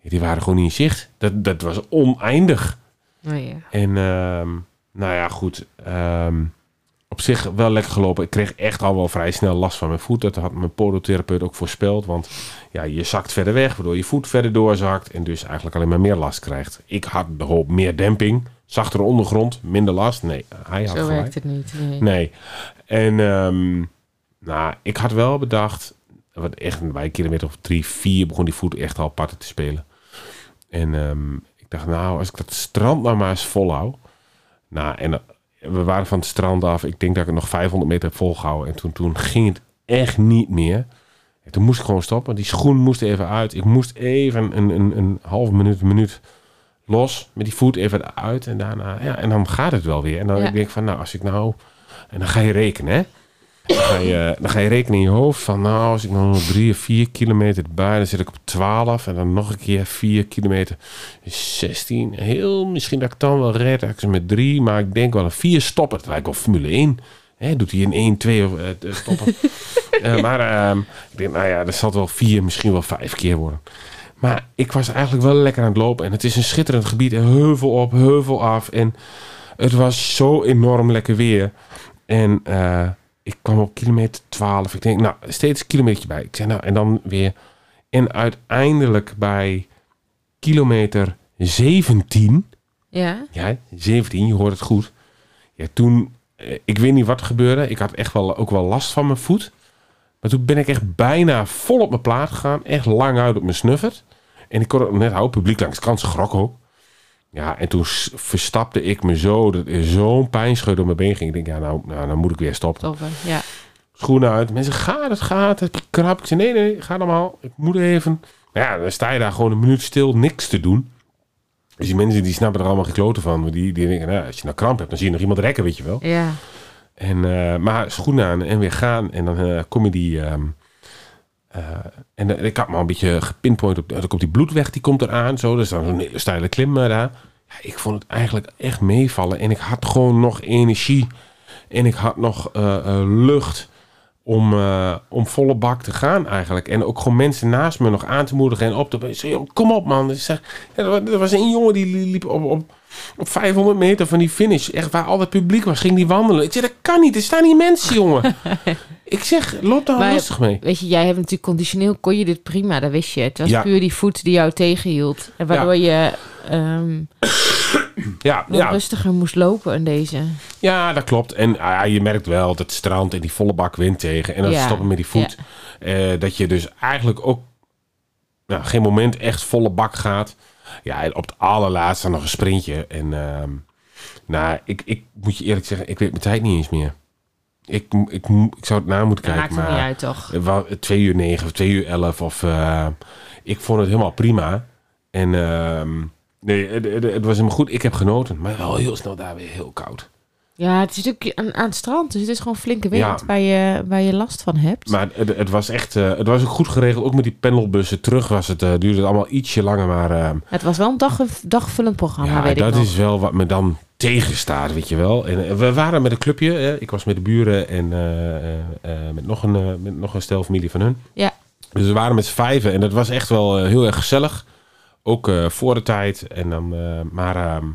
H: Ja, Die waren gewoon niet in zicht. Dat, dat was oneindig.
I: Nou ja.
H: En ehm, nou ja, goed. ehm, op zich wel lekker gelopen. Ik kreeg echt al wel vrij snel last van mijn voet. Dat had mijn podotherapeut ook voorspeld. Want ja, je zakt verder weg, waardoor je voet verder doorzakt. En dus eigenlijk alleen maar meer last krijgt. Ik had de hoop meer demping. Zachtere ondergrond, minder last. Nee, hij had
I: Zo
H: gelijk.
I: werkt het niet. Nee.
H: Nee. En ehm, nou, ik had wel bedacht, wat echt bij een kilometer of drie, vier begon die voet echt al parten te spelen. En ehm, ik dacht, nou, als ik dat strand nou maar eens volhou. Nou, en eh, we waren van het strand af. Ik denk dat ik het nog 500 meter heb volgehouden. En toen, toen ging het echt niet meer. En toen moest ik gewoon stoppen. Die schoen moest even uit. Ik moest even een, een, een halve minuut, een minuut los. Met die voet even uit. En daarna, ja, en dan gaat het wel weer. En dan
I: Ja.
H: ik denk ik van, nou, als ik nou... En dan ga je rekenen, hè? Dan ga je, dan ga je rekenen in je hoofd van, nou, als ik nou nog drie of vier kilometer bij, dan zit ik op 12 en dan nog een keer vier kilometer, is 16. Heel misschien dat ik dan wel red, dat ik ze met drie, maar ik denk wel een vier stoppen. Het lijkt wel Formule 1. Hè, doet hij in 1, 2 of eh, eh, stoppen. Eh, maar ehm, ik denk, nou ja, dat zal het wel vier, misschien wel vijf keer worden. Maar ik was eigenlijk wel lekker aan het lopen. En het is een schitterend gebied. En heuvel op, heuvel af. En het was zo enorm lekker weer. En eh, ik kwam op kilometer 12. Ik denk, nou, steeds een kilometertje bij. Ik zeg, nou, en dan weer. En uiteindelijk bij kilometer 17.
I: Ja?
H: Ja, 17, je hoort het goed. Ja, toen, eh, ik weet niet wat er gebeurde. Ik had echt wel, ook wel last van mijn voet. Maar toen ben ik echt bijna vol op mijn plaat gegaan. Echt lang uit op mijn snuffert. En ik kon het net houden. Publiek langs de kant schrok ook. Ja, en toen s- verstapte ik me zo. Dat er zo'n pijnscheut door mijn been ging. Ik denk, ja, nou, nou, dan moet ik weer stoppen.
I: Toppen. Ja.
H: Schoenen uit. Mensen, gaat het, gaat het. Heb je krap? Ik zei, nee, nee, ga normaal. Ik moet even. Nou ja, dan sta je daar gewoon een minuut stil. Niks te doen. Dus die mensen die snappen er allemaal geen kloten van. want Die, die denken, nou, als je nou kramp hebt, dan zie je nog iemand rekken, weet je wel.
I: Ja.
H: En, eh, maar schoenen aan en weer gaan. En dan eh, kom je die... ehm, eh, en dan- ik had me al een beetje gepinpoint op... Dan komt die bloedweg, die komt eraan. Zo, dus dan een hele steile klim eh, daar. Ja, ik vond het eigenlijk echt meevallen. En ik had gewoon nog energie. En ik had nog eh, eh, lucht om, eh, om volle bak te gaan eigenlijk. En ook gewoon mensen naast me nog aan te moedigen en op te... Ik zei, joh, kom op man. Dus, eh, ja, er wa- er was een jongen die li- liep op, op, op 500 meter van die finish. Echt waar al het publiek was, ging die wandelen. Ik zeg, dat kan niet. Er staan hier mensen, jongen. ik zeg, loop daar
I: Maar,
H: Oh, rustig mee.
I: Weet je, jij hebt natuurlijk conditioneel kon je dit prima, dat wist je. Het was
H: Ja.
I: puur die voet die jou tegenhield. En waardoor je ehm,
H: Ja,
I: wat
H: ja,
I: rustiger moest lopen in deze.
H: Ja, dat klopt. En ah, ja, je merkt wel dat het strand en die volle bak wind tegen. En dat
I: Ja.
H: stoppen met die voet. Eh, dat je dus eigenlijk ook nou, geen moment echt volle bak gaat. Ja, en op het allerlaatste nog een sprintje. En ehm, nou, ik, ik moet je eerlijk zeggen, ik weet mijn tijd niet eens meer. Ik, mo- ik, mo- ik zou het na moeten
I: Dat
H: kijken.
I: maakt er
H: maar
I: niet uit, toch?
H: het wa- 2 uur 9 of 2 uur 11. Of, eh, ik vond het helemaal prima. En ehm, nee, het, het, het was helemaal goed. Ik heb genoten. Maar wel heel snel daar weer heel koud.
I: Ja, het is natuurlijk aan, aan het strand, dus het is gewoon flinke wind
H: Ja.
I: waar, je, waar je last van hebt.
H: Maar het, het was echt, eh, het was ook goed geregeld. Ook met die pendelbussen terug was het, eh, duurde het allemaal ietsje langer. Maar ehm,
I: Het was wel een dag, dagvullend programma,
H: ja,
I: Ah, weet ik
H: dat
I: nog.
H: is wel wat me dan tegenstaat, weet je wel. En eh, we waren met een clubje. eh, ik was met de buren en eh, eh, eh, met, nog een, eh, met nog een stel familie van hun.
I: Ja.
H: Dus we waren met z'n vijven en dat was echt wel eh, heel erg gezellig. Ook eh, voor de tijd. En dan, eh, maar ehm,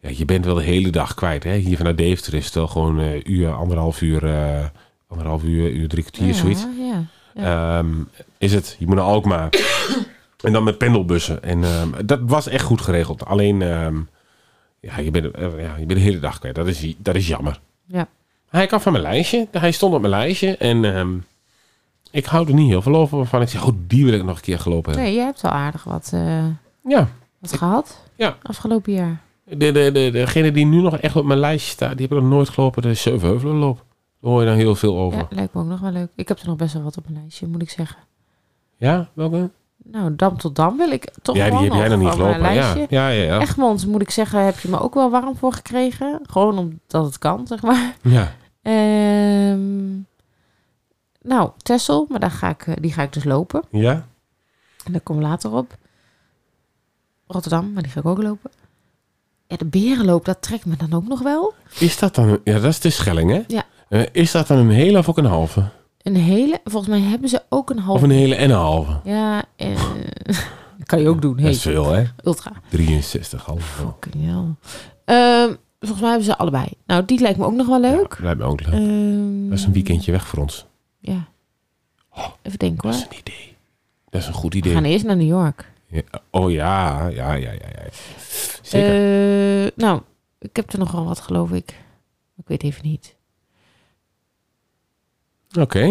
H: ja, je bent wel de hele dag kwijt. Hè? Hier vanuit Deventer is het wel gewoon eh uur, anderhalf uur, eh, anderhalf uur, uur, drie kwartier,
I: Ja,
H: zoiets.
I: ja,
H: Ehm, is het, je moet naar Alkmaar. en dan met pendelbussen. En ehm, dat was echt goed geregeld. Alleen, ehm, ja, je bent, eh, ja, je bent de hele dag kwijt. Dat is, dat is jammer.
I: Ja.
H: Hij kwam van mijn lijstje. Hij stond op mijn lijstje. En ehm, ik hou er niet heel veel over. Waarvan ik zeg, oh, die wil ik nog een keer gelopen hebben.
I: Nee, jij hebt wel aardig wat, eh,
H: Ja.
I: wat gehad
H: Ja.
I: afgelopen jaar.
H: De, de, de, degene die nu nog echt op mijn lijstje staat, die heb ik nog nooit gelopen. De Zevenheuvelenloop. Daar hoor je dan heel veel over.
I: Ja,
H: Ja?
I: lijkt me ook nog wel leuk. Ik heb er nog best wel wat op mijn lijstje, moet ik zeggen.
H: Welke?
I: Nou, Dam tot Dam wil ik toch
H: ja, die
I: wel
H: heb jij nog niet
I: van mijn
H: gelopen. Ja,
I: lijstje.
H: ja, ja. ja.
I: Egmond, moet ik zeggen, heb je me ook wel warm voor gekregen. Gewoon omdat het kan, zeg maar.
H: ja.
I: Ehm, nou, Tessel, maar daar ga ik, eh, die ga ik dus lopen.
H: Ja?
I: En daar kom ik later op. Rotterdam, maar die ga ik ook lopen. Ja, de berenloop, dat trekt me dan ook nog wel.
H: Is dat dan... een- Ja, dat is de Schelling, hè?
I: Ja.
H: Eh, is dat dan een hele of ook een halve?
I: Een hele, volgens mij hebben ze ook een
H: Of
I: halve.
H: een hele en een halve?
I: Ja, en, dat kan je ook doen.
H: Dat
I: Hey,
H: is eh, veel, hè?
I: ultra.
H: 63 halve.
I: Fucking hell. Ehm, volgens mij hebben ze allebei. Nou, die lijkt me ook nog wel leuk.
H: Lijkt me ook leuk.
I: Ehm,
H: Dat is een weekendje weg voor ons.
I: Ja. Even denken
H: Dat is
I: hoor.
H: een idee. Dat is een goed
I: We
H: idee.
I: gaan eerst naar New York.
H: Ja, Oh ja, ja, ja, ja. ja. Zeker.
I: Eh, nou, ik heb er nog wel wat, geloof ik. Ik weet even niet. Eh.
H: Oké.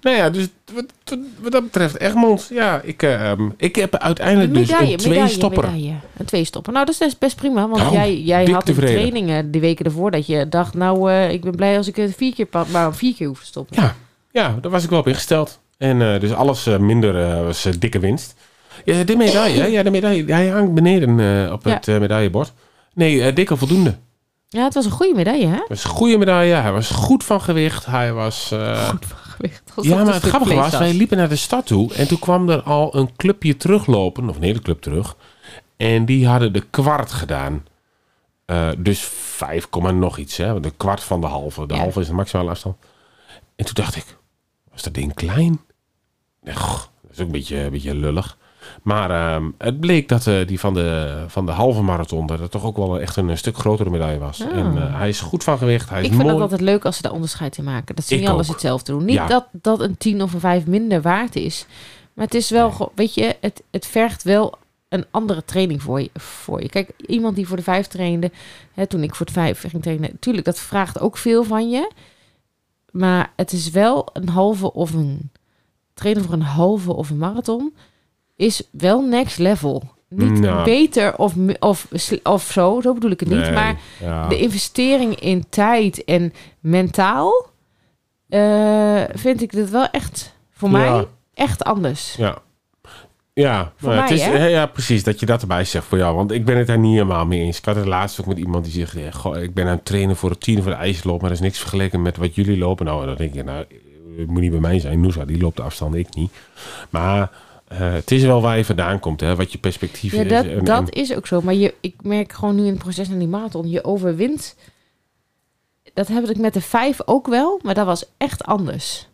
H: Nou ja, dus wat, wat, wat dat betreft Egmond. Ja, ik, ehm, ik heb uiteindelijk dus een twee stopper.
I: medaille. Een twee stopper. Nou, dat is best- best prima. Want
H: Nou,
I: jij, jij
H: dik
I: had de
H: tevreden.
I: trainingen die weken ervoor dat je dacht... nou, eh, ik ben blij als ik het vier keer, pa- maar vier keer hoef te stoppen.
H: Ja, ja, daar was ik wel op ingesteld. En eh, dus alles eh, minder eh, was eh, dikke winst. Ja, de medaille, hè? ja, de medaille, hij hangt beneden eh, op
I: Ja.
H: het eh, medaillebord. Nee, eh, dikke voldoende.
I: Ja, het was een goede medaille, hè?
H: Het was een goede medaille. Hij was goed van gewicht. Hij was. eh,
I: Gewicht. Alsof
H: ja, maar
I: een
H: het
I: stuk
H: grappige
I: vlees
H: was, wij liepen naar de stad toe. En toen kwam er al een clubje teruglopen, of een hele club terug. En die hadden de kwart gedaan. Eh, dus 5, komma nog iets. Hè? want De kwart van de halve. De
I: Ja.
H: halve is de maximale afstand. En toen dacht ik, was dat ding klein? Nee, goh, dat is ook een beetje, een beetje lullig. Maar ehm, het bleek dat eh, die van de, van de halve marathon... dat het toch ook wel echt een, eh, stuk grotere medaille was.
I: Ah.
H: En eh, hij is goed van gewicht. Hij is
I: Ik vind
H: mooi.
I: het altijd leuk als ze daar onderscheid in maken. Dat ze
H: Ik
I: niet alles
H: ook.
I: hetzelfde doen. Niet
H: Ja.
I: dat, dat een 10 of een 5 minder waard is. Maar het is wel, gewoon- weet je, het, het vergt wel een andere training voor je, voor je. Kijk, iemand die voor de 5 trainde, hè, toen ik voor de 5 ging trainen, tuurlijk, dat vraagt ook veel van je. Maar het is wel een halve of een trainen voor een halve of een marathon is wel next level. Niet
H: Nou.
I: beter of, mi- of, sl- of zo, zo bedoel ik het niet.
H: Nee,
I: maar
H: ja.
I: de investering in tijd en mentaal eh, vind ik dit wel echt voor
H: Ja.
I: mij echt anders.
H: Ja. Ja,
I: Voor
H: maar het
I: mij,
H: is,
I: hè?
H: ja, ja, precies. Dat je dat erbij zegt voor jou. Want ik ben het daar niet helemaal mee eens. Ik had het laatst ook met iemand die zegt... ja, goh, ik ben aan het trainen voor het tien voor de ijsloop... maar dat is niks vergeleken met wat jullie lopen. Nou, dan denk je, nou, het moet niet bij mij zijn. Noosa, die loopt de afstand, ik niet. Maar eh, het is wel waar je vandaan komt, hè. Wat je perspectief
I: Ja,
H: is.
I: dat,
H: en-
I: dat
H: en-
I: is ook zo. Maar je, ik merk gewoon nu in het proces naar die marathon, je overwint dat heb ik met de vijf ook wel, maar dat was echt anders.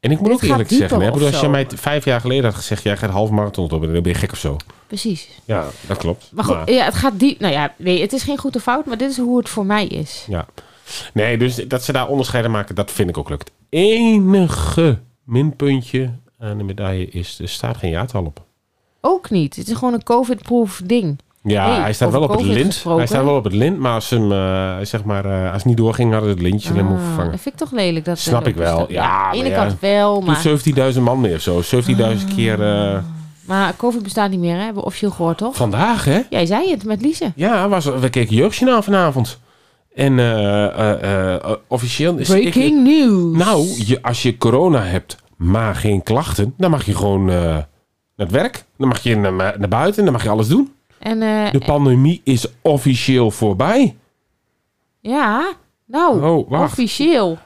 H: En ik moet
I: Dit
H: ook eerlijk
I: gaat
H: zeggen,
I: dieper
H: hè, ik bedoel,
I: of
H: als je
I: zo.
H: mij t- vijf jaar geleden had gezegd, jij gaat half marathon lopen, dan ben je gek of zo.
I: Precies.
H: Ja, dat klopt.
I: Maar goed, Ja, het gaat diep. Nou ja, nee, het is geen goed of fout, maar dit is hoe het voor mij is.
H: Ja. Nee, dus dat ze daar onderscheiden maken, dat vind ik ook leuk. Het enige minpuntje aan de medaille is, er staat geen jaartal op.
I: Ook niet. Het is gewoon een COVID-proof ding.
H: Ja,
I: Hey,
H: hij staat
I: over
H: wel op het
I: COVID
H: lint.
I: gesproken.
H: Hij staat wel op het lint, maar als, hem, eh, zeg maar, eh, als het niet doorging, hadden ze het lintje alleen moeten
I: Ah,
H: vervangen.
I: Dat vind ik toch lelijk. Dat
H: Snap ik wel. Ja,
I: aan
H: maar
I: de ene
H: ja.
I: kant wel, maar...
H: Toen 17.000 man meer of zo. 17.000
I: Ah.
H: keer eh,
I: Maar COVID bestaat niet meer, hè? hebben we officieel gehoord, toch?
H: vandaag, hè?
I: Jij zei het met Lise.
H: Ja, was, we keken Jeugdjournaal vanavond. En eh, eh, eh, officieel... is- ik-
I: Breaking news.
H: Nou, je, als je corona hebt, maar geen klachten, dan mag je gewoon eh, naar het werk. Dan mag je naar, naar buiten, dan mag je alles doen.
I: En eh,
H: De pandemie is officieel voorbij.
I: ja, nou,
H: Oh, wacht.
I: officieel.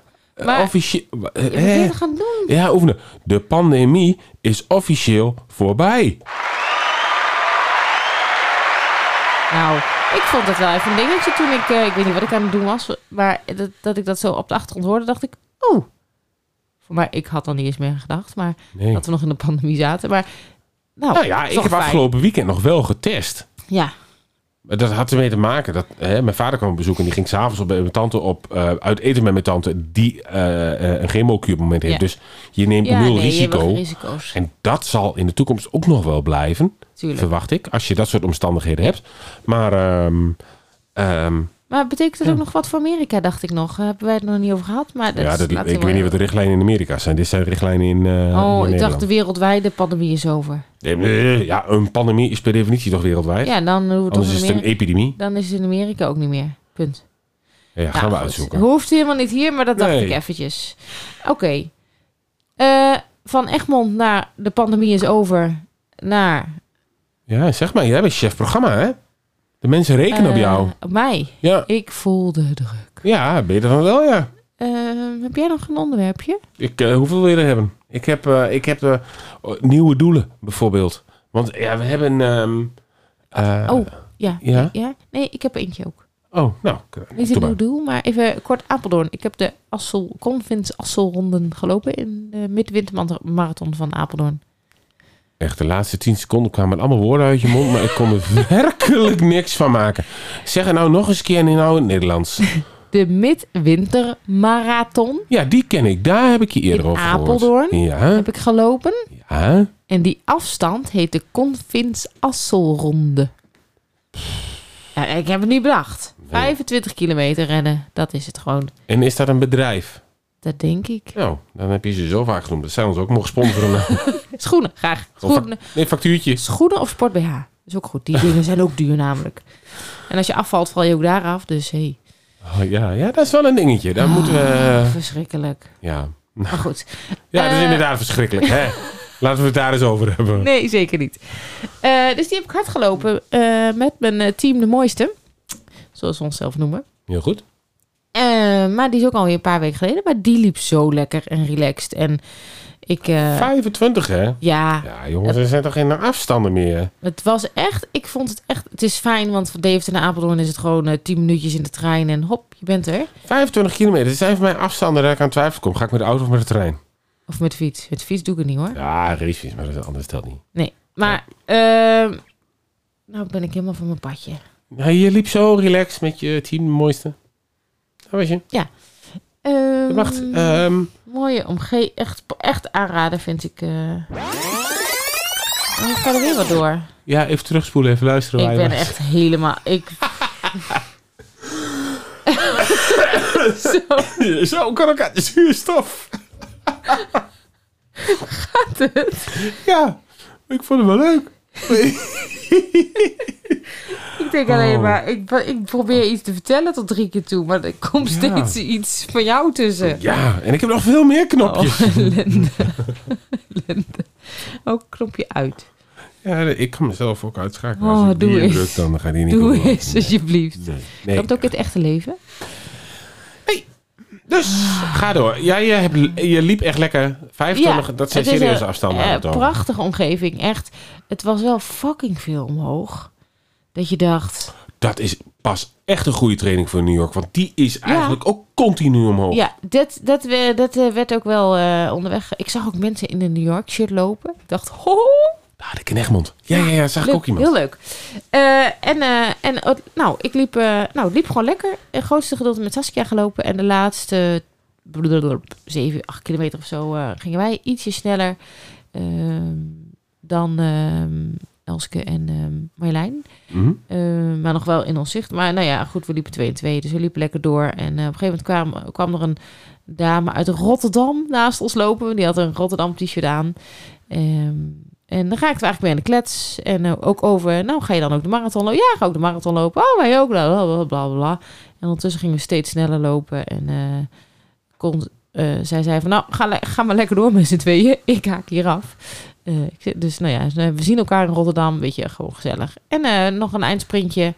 I: Maar
H: Officieel. eh,
I: je moet
H: hè?
I: dit gaan doen.
H: Ja, oefenen. De pandemie is officieel voorbij.
I: Oh, Nou, ik vond het wel even een dingetje toen ik, eh, ik weet niet wat ik aan het doen was, maar dat, dat ik dat zo op de achtergrond hoorde, dacht ik, oh. Voor mij, ik had dan niet eens meer gedacht, maar
H: Nee.
I: dat we nog in de pandemie zaten. Maar, nou,
H: Nou ja,
I: is
H: ik
I: toch
H: heb
I: fijn.
H: afgelopen weekend nog wel getest.
I: Ja,
H: Maar Dat had ermee te maken dat hè, mijn vader kwam op bezoek en die ging s'avonds op bij mijn tante op eh, uit eten met mijn tante die eh, eh, een chemokuur op het moment heeft.
I: Ja.
H: Dus je neemt
I: ja
H: nul
I: nee, je hebt wel
H: risico.
I: geen risico's.
H: En dat zal in de toekomst ook nog wel blijven,
I: Tuurlijk.
H: verwacht ik, als je dat soort omstandigheden hebt. Maar ehm, ehm,
I: Maar betekent dat ook nog wat voor Amerika, dacht ik nog. Daar hebben wij het nog niet over gehad, maar dat
H: ja,
I: is-
H: dat,
I: laten
H: ik
I: we-
H: weet niet wat de richtlijnen in Amerika zijn. Dit zijn de richtlijnen in, eh, in
I: Oh, ik
H: Nederland.
I: dacht de wereldwijde pandemie is over.
H: Nee, nee, Ja, een pandemie is per definitie toch wereldwijd?
I: Ja, dan, doen we het
H: Anders
I: toch
H: is
I: in
H: het een
I: Amerika-
H: epidemie.
I: dan is het in Amerika ook niet meer. Punt.
H: Ja, gaan
I: Nou,
H: we
I: goed.
H: uitzoeken.
I: Hoeft helemaal niet hier, maar dat dacht
H: Nee.
I: ik eventjes. Oké. Eh, van Egmond naar de pandemie is over. Naar
H: Ja, zeg maar, jij bent chef programma, hè? De mensen rekenen op
I: eh,
H: jou.
I: Op mij.
H: Ja,
I: Ik voel de druk.
H: ja beter dan wel, ja.
I: Eh, heb jij nog een onderwerpje?
H: Ik, eh, hoeveel wil je er hebben? Ik heb, eh, ik heb eh, nieuwe doelen, bijvoorbeeld. Want ja, we hebben... ehm, eh,
I: oh, ja.
H: ja?
I: Nee, ik heb eentje ook.
H: Oh, nou.
I: Niet
H: doe
I: een nieuw
H: maar.
I: doel, maar even kort Apeldoorn. Ik heb de Assel, Convins Asselronden gelopen in de midwintermarathon van Apeldoorn.
H: Echt, de laatste tien seconden kwamen allemaal woorden uit je mond, maar ik kon er werkelijk niks van maken. Zeg er nou nog eens een keer in nou in het Nederlands.
I: De midwintermarathon
H: Ja, die ken ik. Daar heb ik je eerder
I: In
H: over gehoord.
I: Apeldoorn?
H: Ja,
I: heb ik gelopen.
H: ja.
I: En die afstand heet de Convins Asselronde. Ja, ik heb het niet bedacht. 25 kilometer rennen, dat is het gewoon.
H: En is dat een bedrijf?
I: Dat denk ik.
H: Nou, dan heb je ze zo vaak genoemd. Dat zijn ons ook mogen sponsoren.
I: Schoenen, graag.
H: Of
I: Schoenen,
H: fac- nee, factuurtje.
I: schoenen of sport BH. Dat is ook goed. Die dingen zijn ook duur namelijk. En als je afvalt, val je ook daar af. Dus hé, hey,
H: Oh, ja, ja, dat is wel een dingetje.
I: Ah.
H: Daar moeten we... eh,
I: verschrikkelijk.
H: Ja,
I: Maar goed.
H: ja dat is
I: Eh.
H: inderdaad verschrikkelijk. Hè? Laten we het daar eens over hebben.
I: Nee, zeker niet. Eh, dus die heb ik hard gelopen eh, met mijn eh, team de mooiste. Zoals we onszelf noemen.
H: Heel goed.
I: Eh, maar die is ook alweer een paar weken geleden. Maar die liep zo lekker en relaxed. En ik... eh,
H: 25, hè?
I: ja,
H: Ja, jongens, er zijn toch geen afstanden meer?
I: het was echt... Ik vond het echt... Het is fijn, want van Deventer naar Apeldoorn is het gewoon eh, 10 minuutjes in de trein. En hop, je bent er.
H: 25 kilometer. Er zijn voor mij afstanden waar ik aan twijfel kom. Ga ik met de auto of met de trein?
I: Of met fiets. Met fiets doe ik het niet hoor.
H: Ja, racefiets, maar dat is anders telt niet.
I: Nee, maar... ehm, nou ben ik helemaal van mijn padje.
H: Ja, je liep zo relaxed met je team, de mooiste. Dat was je.
I: Ehm,
H: Wacht, ehm,
I: Mooie omgeving. Echt, echt aanraden vind ik. eh. Oh, ik ga er weer wat door.
H: ja, even terugspoelen, even luisteren.
I: Ik
H: waar je
I: ben
H: was.
I: echt helemaal... Ik...
H: Zo kan ik aan de zuurstof.
I: Gaat het?
H: Ja, ik vond het wel leuk.
I: Ik denk
H: Oh.
I: alleen maar... Ik, ik probeer iets te vertellen tot drie keer toe. Maar er komt
H: Ja.
I: steeds iets van jou tussen.
H: Ja, en ik heb nog veel meer knopjes.
I: Oh, ellende. ellende. Ook knopje uit.
H: Ja, ik kan mezelf ook uitschakelen.
I: Oh,
H: Als ik
I: doe
H: die
I: eens.
H: indruk, dan gaat die niet
I: Doe
H: goed.
I: eens, alsjeblieft.
H: Nee. nee.
I: Klopt ook in het echte leven?
H: Dus, ga door. Ja, je, hebt, je liep echt lekker. 25, dat zijn
I: het is
H: serieuze
I: een,
H: afstanden.
I: eh,
H: aan het over.
I: prachtige omgeving, echt. Het was wel fucking veel omhoog. Dat je dacht...
H: Dat is pas echt een goede training voor New York. Want die is eigenlijk ook continu omhoog.
I: Ja, dat, dat, we- dat eh, werd ook wel eh, onderweg. Ik zag ook mensen in een New York shirt lopen. Ik dacht, ho, ho,
H: Ah, de Knechtmond. Ja, ja, ja, zag ik
I: Leuk,
H: ook iemand.
I: Heel leuk. Eh, en eh, en eh, nou, ik liep, eh, nou, het liep gewoon lekker. Het grootste gedeelte met Saskia gelopen. En de laatste blablabla, 7, 8 kilometer of zo eh, gingen wij ietsje sneller ehm, dan ehm, Elske en ehm, Marjolein.
H: Mhm.
I: Eh, maar nog wel in ons zicht. Maar nou ja, goed, we liepen 2 en 2. Dus we liepen lekker door. En eh, op een gegeven moment kwam, kwam er een dame uit Rotterdam naast ons lopen. Die had een Rotterdam t-shirt aan. Ehm, en dan raakten we eigenlijk mee aan de klets. En eh, ook over, nou ga je dan ook de marathon lopen? Ja, ga ook de marathon lopen. Oh, wij ook, bla bla bla bla. bla. En ondertussen gingen we steeds sneller lopen. En eh, kon, eh, zij zei van, nou ga, le- ga maar lekker door met z'n tweeën. Ik haak hier af. Eh, ik zei- dus nou ja, ze- we zien elkaar in Rotterdam. Weet je, gewoon gezellig. En eh, nog een eindsprintje.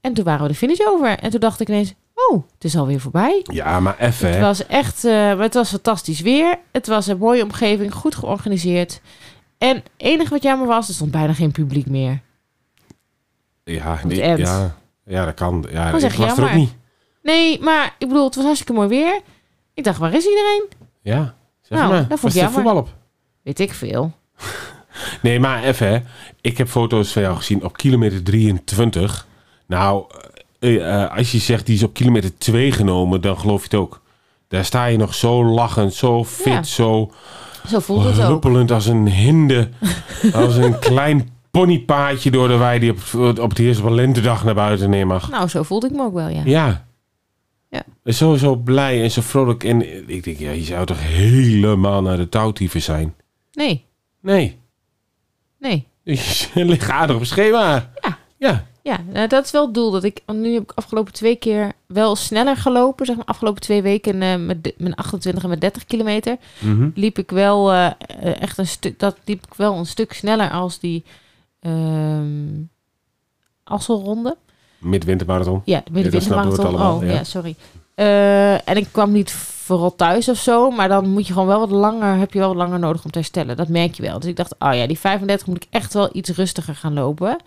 I: En toen waren we de finish over. En toen dacht ik ineens, oh, het is alweer voorbij.
H: Ja, maar even,
I: Het
H: hè.
I: was echt, eh, maar het was fantastisch weer. Het was een mooie omgeving, goed georganiseerd. En het enige wat jammer was, er stond bijna geen publiek meer.
H: Ja,
I: het
H: die-
I: end.
H: ja, ja, dat kan. Ja, ik
I: Dat was
H: was
I: echt
H: er ook
I: jammer.
H: niet.
I: Nee, maar ik bedoel, het was hartstikke mooi weer. Ik dacht, waar is iedereen?
H: Ja, zeg
I: Nou,
H: maar.
I: dat vond
H: was
I: ik
H: er
I: jammer.
H: voetbal op?
I: Weet ik veel.
H: Nee, maar even, hè. Ik heb foto's van jou gezien op kilometer 23. Nou, eh, eh, als je zegt die is op kilometer 2 genomen, dan geloof je het ook. Daar sta je nog zo lachend, zo fit,
I: Ja.
H: zo
I: Zo voelde
H: Oh,
I: het ook.
H: huppelend als een hinde. als een klein ponypaadje door de wei die op, op de eerste lentedag naar buiten neer mag.
I: Nou, zo voelde ik me ook wel, ja.
H: Ja.
I: Ja.
H: Zo, zo blij en zo vrolijk. En ik denk, ja, je zou toch helemaal naar de touwtieven zijn?
I: Nee,
H: Nee.
I: nee.
H: Dus Je ligt aardig op schema.
I: Ja.
H: Ja.
I: Ja, nou, dat is wel het doel. Dat ik, want nu heb ik afgelopen twee keer wel sneller gelopen. Zeg maar afgelopen twee weken eh, met de- mijn 28 en mijn 30 kilometer.
H: Mhm.
I: liep ik wel eh, eh, echt een stuk. Dat liep ik wel een stuk sneller als die ehm Asselronde.
H: Midwintermarathon.
I: Ja, de
H: dat snappen we het
I: middenwintermarathon.
H: allemaal,
I: Oh,
H: ja.
I: ja, sorry. Eh, en ik kwam niet vooral thuis of zo, maar dan moet je gewoon wel wat langer, heb je wel wat langer nodig om te herstellen. Dat merk je wel. Dus ik dacht, oh ja, die 35 moet ik echt wel iets rustiger gaan lopen.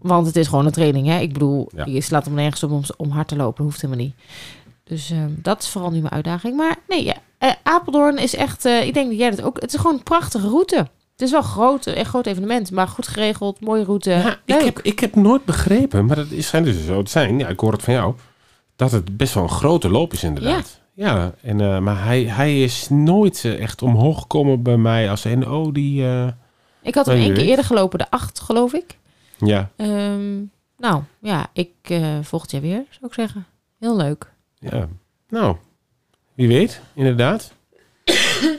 I: Want het is gewoon een training, hè? Ik bedoel,
H: Mhm. Ja.
I: je slaat hem nergens op om, om hard te lopen. Dat hoeft helemaal niet. Dus ehm, dat is vooral nu mijn uitdaging. Maar nee, ja. eh, Apeldoorn is echt, eh, ik denk dat jij dat ook... Het is gewoon een prachtige route. Het is wel groot, een groot evenement, maar goed geregeld, mooie route.
H: Ja, ik,
I: Leuk.
H: heb, ik heb nooit begrepen, maar dat is, zijn dus zo te zijn. Ja, ik hoor het van jou. Dat het best wel een grote loop is inderdaad. Ja, en, eh, maar hij, hij is nooit eh, echt omhoog gekomen bij mij als een... Oh, die... eh,
I: Ik had hem
H: Nee, je
I: één keer
H: weet.
I: eerder gelopen, de 8 geloof ik.
H: ja,
I: Ehm, nou, ja, ik eh volgend jaar weer, zou ik zeggen. Heel leuk.
H: ja. Nou, wie weet, inderdaad.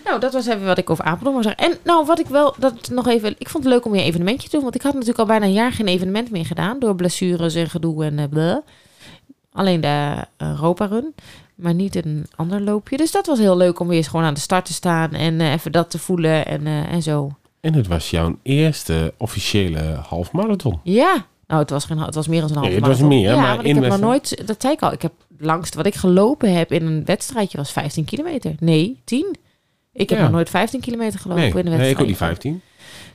I: Nou, dat was even wat ik over Apeldoorn wou zeggen. En nou, wat ik wel, dat nog even... Ik vond het leuk om weer een evenementje te doen. Want ik had natuurlijk al bijna een jaar geen evenement meer gedaan. Door blessures en gedoe en eh bleh. Alleen de eh, Europa Run. Maar niet een ander loopje. Dus dat was heel leuk om weer eens gewoon aan de start te staan. En eh, even dat te voelen en, eh, en zo.
H: En het was jouw eerste officiële halfmarathon.
I: Ja. Nou, het was, geen, het was meer dan een halve
H: Nee, het was
I: marathon.
H: meer, hè,
I: ja,
H: maar
I: want
H: in
I: ik heb nog
H: wedstrijd.
I: nooit... Dat zei ik al. Ik heb het langste wat ik gelopen heb in een wedstrijdje was 15 kilometer. Nee, 10. Ik heb
H: Ja.
I: nog nooit 15 kilometer gelopen
H: Nee,
I: in een
H: nee,
I: wedstrijd.
H: ik ook die 15.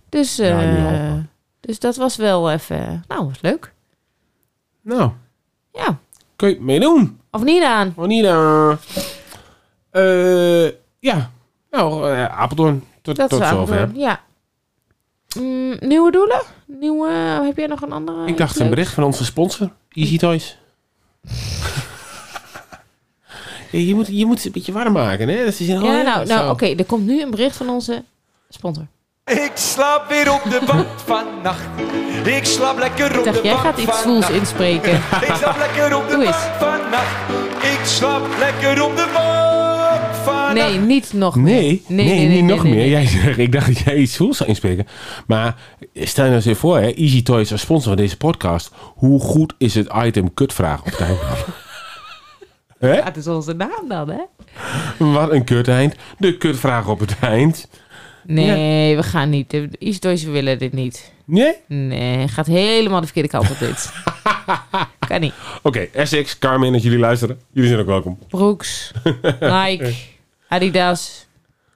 I: Dus,
H: Ja, nu
I: eh,
H: half, maar.
I: dus dat was wel even... Nou, was leuk.
H: Nou,
I: Ja.
H: kun je het meedoen?
I: Of niet aan?
H: Anita. Eh ja, nou, eh, Apeldoorn. Tot,
I: Dat
H: tot
I: is wel
H: zover.
I: Ja. Mm, nieuwe doelen? Nieuwe... Heb jij nog een andere?
H: Ik dacht
I: iets
H: een
I: leuks?
H: bericht van onze sponsor, Easy Toys. Ja, je, moet, je moet ze een beetje warm maken, hè? Dat ze zeggen, oh
I: Ja, nou, nou
H: zo.
I: oké. er komt nu een bericht van onze sponsor.
L: Ik slaap weer op de bank vannacht. Ik slaap lekker
I: Ik
L: op de
I: dacht,
L: bank
I: jij gaat iets zwoels
L: vannacht.
I: inspreken.
L: Ik slaap lekker op de
I: Doe
L: bank
I: eens.
L: vannacht. Ik slaap lekker op de bank vannacht.
I: Nee, niet nog meer.
H: Nee, nee, niet nog meer.
I: nee.
H: Jij zegt, ik dacht dat jij iets voels zou inspreken. Maar stel je nou eens even voor, hè, Easy Toys als sponsor van deze podcast. Hoe goed is het item kutvraag op tijd? Hè?
I: Dat is onze naam dan, hè?
H: Wat een kut eind. De kutvraag op het eind.
I: Nee, we gaan niet. Eastdoys willen dit niet.
H: Nee?
I: Nee, gaat helemaal de verkeerde kant op dit. kan niet.
H: Oké, Essex, Carmen, dat jullie luisteren. Jullie zijn ook welkom.
I: Brooks, Nike, Adidas,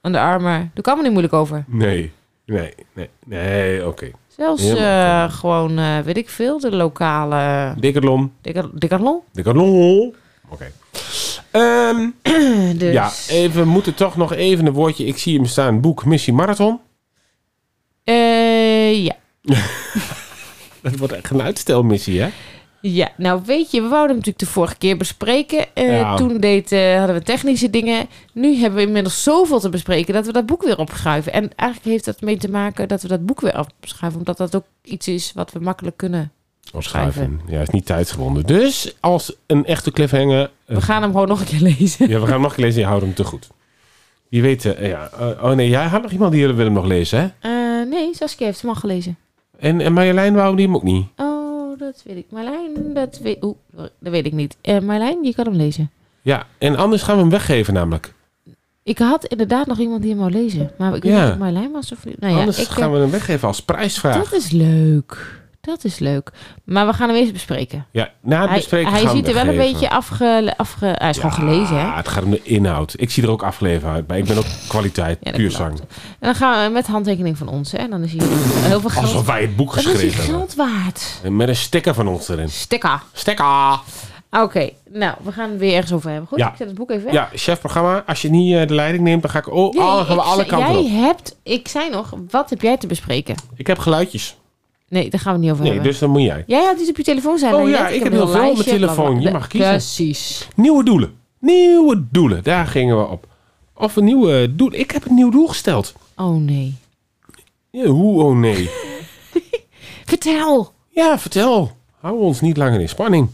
I: Under Armour. Doe ik allemaal niet moeilijk over.
H: Nee. Nee, nee, nee, oké.
I: Zelfs
H: Helemaal
I: eh, gewoon, eh, weet ik veel, de lokale...
H: Decathlon.
I: Decathlon. Decathlon?
H: Decathlon. Oké. Ehm,
I: dus.
H: Ja, eh, even, we moeten toch nog even een woordje. Ik zie hem staan. Boek Missie Marathon.
I: Eh, ja.
H: Dat wordt echt een uitstelmissie, hè?
I: Ja, nou weet je, we wouden hem natuurlijk de vorige keer bespreken. Eh,
H: Ja.
I: Toen deed, eh, hadden we technische dingen. Nu hebben we inmiddels zoveel te bespreken dat we dat boek weer opschuiven. En eigenlijk heeft dat mee te maken dat we dat boek weer opschuiven. Omdat dat ook iets is wat we makkelijk kunnen.
H: Opschrijven. Ja, is niet tijdsgebonden. Dus als een echte cliffhanger. eh,
I: We gaan hem gewoon nog een keer lezen.
H: Ja, we gaan hem nog lezen. Je houdt hem te goed. Je weet, eh, ja. eh, oh nee, jij had nog iemand die wilde hem nog lezen, hè?
I: Eh, nee, Saskia heeft hem al gelezen.
H: En, en Marjolein wou die hem ook niet.
I: Oh, dat weet ik. Marlijn, dat weet, oeh, sorry, dat weet ik niet. Eh Marlijn, je kan hem lezen.
H: Ja, en anders gaan we hem weggeven, namelijk.
I: Nou Ik had inderdaad nog iemand die hem wou lezen. Maar ik weet
H: Ja.
I: niet of het Marlijn was of... Nou ja,
H: anders
I: ik,
H: gaan
I: eh,
H: we hem weggeven als prijsvraag.
I: Dat is leuk. Dat is leuk. Maar we gaan hem eens bespreken.
H: Ja, na het
I: hij
H: bespreken
I: hij
H: gaan we
I: ziet er wel
H: hem
I: een
H: weggeven.
I: beetje afge... afge hij is gewoon gelezen, hè?
H: Ah, het gaat om de inhoud. Ik zie er ook afleven uit, maar ik ben ook kwaliteit,
I: Ja, dat
H: puur
I: klopt.
H: zang.
I: En dan gaan we met handtekening van ons, hè? En dan is hij heel veel geld...
H: Alsof wij het boek
I: Dan is
H: geschreven
I: hij
H: hebben.
I: geld waard.
H: En Met een sticker van ons erin.
I: Stekka.
H: Stekka.
I: Oké, nou, we gaan het weer ergens over hebben. Goed,
H: Ja.
I: ik zet het boek even weg.
H: Ja, chefprogramma. Als je niet eh, de leiding neemt, dan ga ik... Oh,
I: Nee,
H: alle, gaan we
I: ik
H: alle
I: zei-
H: kanten
I: jij
H: op.
I: hebt... Ik zei nog, wat heb jij te bespreken?
H: Ik heb geluidjes.
I: Nee, daar gaan we het niet over
H: Nee,
I: hebben.
H: dus dan moet jij.
I: Jij had iets op je telefoon zijn.
H: Oh ja, ik heb heel veel op mijn telefoon. Je mag kiezen.
I: Precies.
H: Nieuwe doelen. Nieuwe doelen. Daar gingen we op. Of een nieuwe doel. Ik heb een nieuw doel gesteld.
I: Oh nee.
H: Ja, hoe? Oh nee.
I: Vertel.
H: Ja, vertel. Hou ons niet langer in spanning.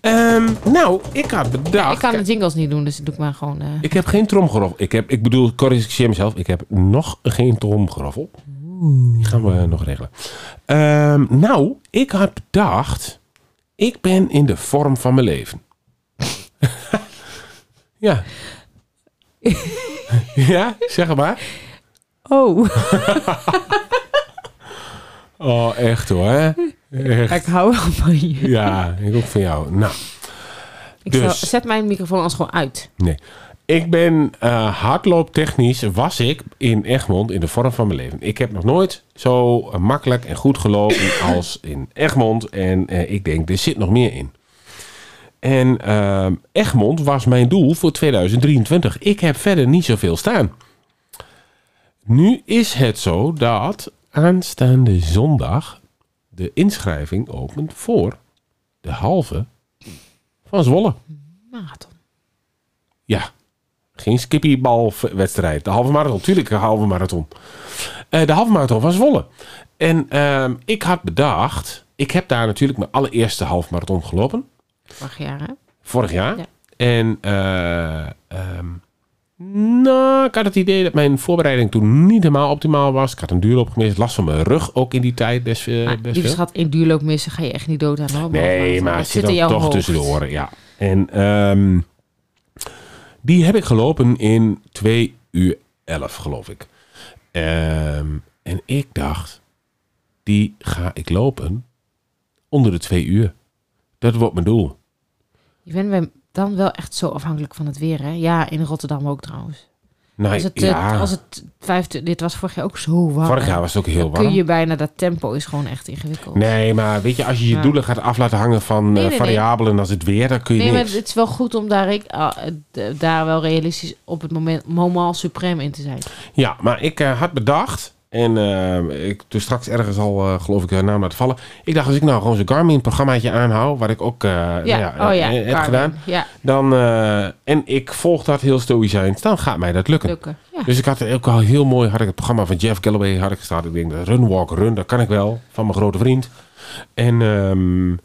H: Ehm, nou, ik had bedacht...
I: Ik kan de jingles niet doen, dus dat doe ik maar gewoon... eh,
H: Ik heb geen tromgeroffel. Ik, heb, ik bedoel, corrigeer mezelf. Ik heb nog geen tromgeroffel. Die gaan we nog regelen. Ehm, nou, ik had bedacht... Ik ben in de vorm van mijn leven. ja. ja, zeg het maar.
I: Oh.
H: Oh, echt hoor. hè? Echt.
I: Ik hou wel van je.
H: Ja, ik ook van jou. Nou,
I: Ik
H: dus-
I: zal- zet mijn microfoon als gewoon uit.
H: nee. Ik ben eh, hardlooptechnisch, was ik in Egmond in de vorm van mijn leven. Ik heb nog nooit zo makkelijk en goed gelopen als in Egmond. En eh, ik denk, er zit nog meer in. En ehm, Egmond was mijn doel voor 2023. Ik heb verder niet zoveel staan. Nu is het zo dat aanstaande zondag de inschrijving opent voor de halve van Zwolle.
I: Marathon.
H: Ja, geen skippybalwedstrijd. De halve marathon, tuurlijk een halve marathon. Eh, de halve marathon van Zwolle. En ehm, ik had bedacht, ik heb daar natuurlijk mijn allereerste halve marathon gelopen.
I: Vorig jaar, hè?
H: Vorig jaar.
I: Ja.
H: En eh, ehm, nou, ik had het idee dat mijn voorbereiding toen niet helemaal optimaal was. Ik had een duurloop gemist, last van mijn rug ook in die tijd. Best, eh,
I: Maar
H: best
I: lieve
H: veel.
I: schat, in duurloop missen ga je echt niet dood aan. hoor.
H: Nee,
I: Dat
H: maar het zit
I: in
H: dan
I: jouw
H: toch
I: hoofd.
H: tussen de oren, ja. En ehm, die heb ik gelopen in 2 uur 11, geloof ik. Ehm, en ik dacht, die ga ik lopen onder de 2 uur. Dat wordt mijn doel.
I: Je bent bij- dan wel echt zo afhankelijk van het weer, hè? Ja, in Rotterdam ook trouwens.
H: Nou,
I: als het, eh,
H: ja,
I: als het vijfde, dit was vorig jaar ook zo warm.
H: vorig jaar was het ook heel
I: Dan kun
H: warm.
I: je bijna, dat tempo is gewoon echt ingewikkeld.
H: Nee, maar weet je, als je je
I: Ja.
H: doelen gaat af laten hangen van eh,
I: Nee, nee, nee.
H: variabelen als het weer, dan kun je
I: Nee, maar
H: niks.
I: het is wel goed om daar, ik, ah, eh, d- daar wel realistisch op het moment moment supreme in te zijn.
H: Ja, maar ik eh, had bedacht. En eh, ik toen straks ergens al, eh, geloof ik, haar naam laten vallen. Ik dacht, als ik nou gewoon zo'n Garmin-programmaatje aanhoud, waar ik ook eh, nou
I: Ja,
H: ja,
I: oh ja,
H: eh, heb
I: Garmin,
H: gedaan.
I: ja.
H: Dan, eh, en ik volg dat heel stoïcijns, dan gaat mij dat lukken.
I: Lukken, ja.
H: Dus ik had ook al heel mooi, had ik het programma van Jeff Galloway had ik gestaan. Ik denk, run, walk, run, dat kan ik wel, van mijn grote vriend. En ehm,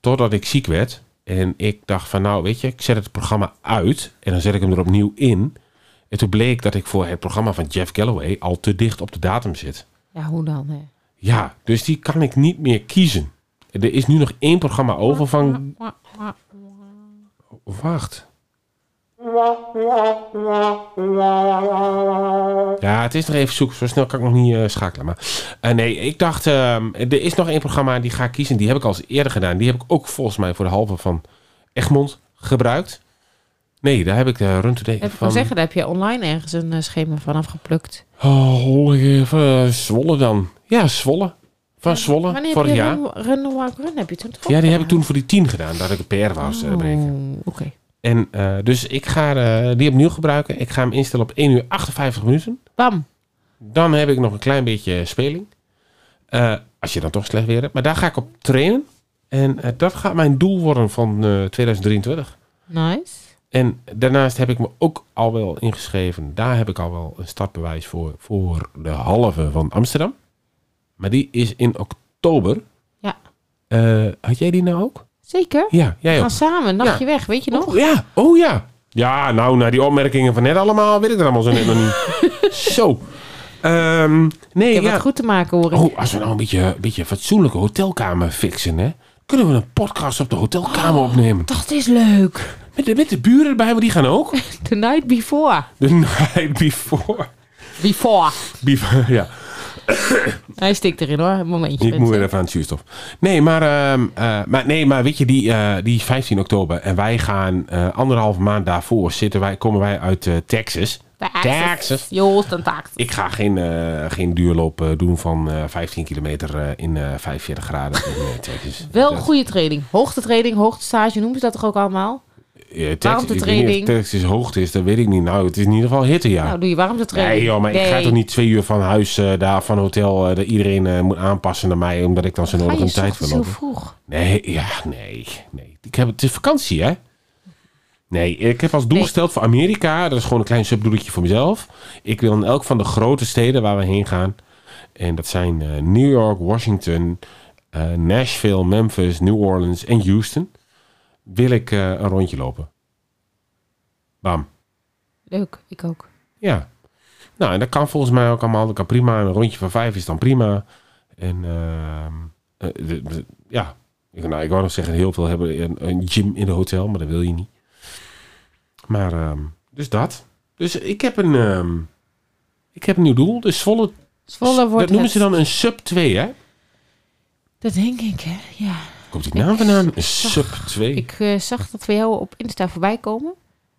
H: totdat ik ziek werd. En ik dacht van, nou weet je, ik zet het programma uit. En dan zet ik hem er opnieuw in. En toen bleek dat ik voor het programma van Jeff Galloway al te dicht op de datum zit.
I: Ja, hoe dan? Hè?
H: Ja, dus die kan ik niet meer kiezen. Er is nu nog één programma over van... Wacht. Ja, het is nog even zoeken. Zo snel kan ik nog niet eh, schakelen. Maar eh, nee, ik dacht, ehm, er is nog één programma die ga ik kiezen. Die heb ik al eens eerder gedaan. Die heb ik ook volgens mij voor de halve van Egmond gebruikt. Nee, daar heb ik de Run Today
I: Heb ik
H: van...
I: wel zeggen, daar heb je online ergens een eh, schema van afgeplukt.
H: Oh, hollige, eh, Zwolle dan. Ja, Zwolle. Van Zwolle,
I: Wanneer
H: vorig
I: heb je
H: jaar.
I: Run, run, Walk, Run? Heb je toen
H: Ja,
I: toch
H: die heb ik
I: opgedaan?
H: toen voor die 10 gedaan, dat ik een PR was.
I: Oh.
H: eh, ben ik.
I: Oké.
H: En eh, dus ik ga eh, die opnieuw gebruiken. Ik ga hem instellen op 1 uur 58 minuten.
I: Bam.
H: Dan heb ik nog een klein beetje speling. Eh, als je dan toch slecht weer hebt. Maar daar ga ik op trainen. En eh, dat gaat mijn doel worden van eh, 2023.
I: Nice.
H: En daarnaast heb ik me ook al wel ingeschreven. Daar heb ik al wel een startbewijs voor. Voor de halve van Amsterdam. Maar die is in oktober.
I: Ja.
H: Eh, had jij die nou ook?
I: Zeker.
H: Ja, jij
I: We
H: ook.
I: gaan samen een nachtje weg, weet je nog?
H: ja. Oh ja. Ja, nou, na die opmerkingen van net allemaal weet ik er allemaal zo net nog niet. Zo. Ehm, nee,
I: Ik heb
H: ja.
I: wat goed te maken, hoor ik.
H: Oh, als we nou een beetje, een beetje een fatsoenlijke hotelkamer fixen, hè? Kunnen we een podcast op de hotelkamer opnemen?
I: Dat is leuk.
H: Met de, met de buren erbij, want die gaan ook.
I: The night before.
H: The night before.
I: Before.
H: Before, ja.
I: Hij stikt erin hoor, een momentje.
H: Ik moet weer even aan het zuurstof. Nee, maar, ehm, eh, maar, nee, maar weet je, die, eh, die 15 oktober. En wij gaan eh anderhalve maand daarvoor zitten. Wij, komen wij uit eh, Texas. Texas.
I: Joost en Texas.
H: Ik ga geen, eh, geen duurloop eh, doen van eh, 15 kilometer eh, in eh 45 graden in eh, Texas.
I: Wel
H: Dat-
I: goede training. Hoogtetraining, hoogtestage, noemen ze dat toch ook allemaal?
H: Ja, Tex- Ik weet niet
I: Warmtetraining.
H: of Texas hoogte is, dat weet ik niet. Nou, het is in ieder geval hittejaar.
I: Nou, doe je warmtetraining.
H: Nee joh, maar ik ga toch niet twee uur van huis eh, daar van hotel eh, dat iedereen eh, moet aanpassen naar mij omdat ik dan zo
I: Ga
H: nodig
I: je
H: een tijd wil
I: ochtends heel
H: lopen.
I: vroeg?
H: Nee, ja, nee, nee. Ik heb, het is vakantie, hè? Nee, ik heb als doel gesteld voor Amerika. Dat is gewoon een klein subdoeletje voor mezelf. Ik wil in elk van de grote steden waar we heen gaan. En dat zijn eh, New York, Washington, eh, Nashville, Memphis, New Orleans en Houston. Wil ik eh, een rondje lopen. Bam.
I: Leuk, ik ook.
H: Ja. Nou, en dat kan volgens mij ook allemaal. Dat kan prima. Een rondje van vijf is dan prima. En ehm, eh, de- de- ja. Ik, nou, ik wou nog zeggen, heel veel hebben een, een gym in het hotel, maar dat wil je niet. Maar, ehm, dus dat. Dus ik heb een, ehm, ik heb een nieuw doel. Dus Zwolle,
I: Zwolle wordt
H: dat noemen
I: het.
H: ze dan een sub 2, hè?
I: Dat denk ik, hè? Ja.
H: Komt die naam vandaan? Een sub 2.
I: Ik eh, zag dat we jou op Insta voorbij komen.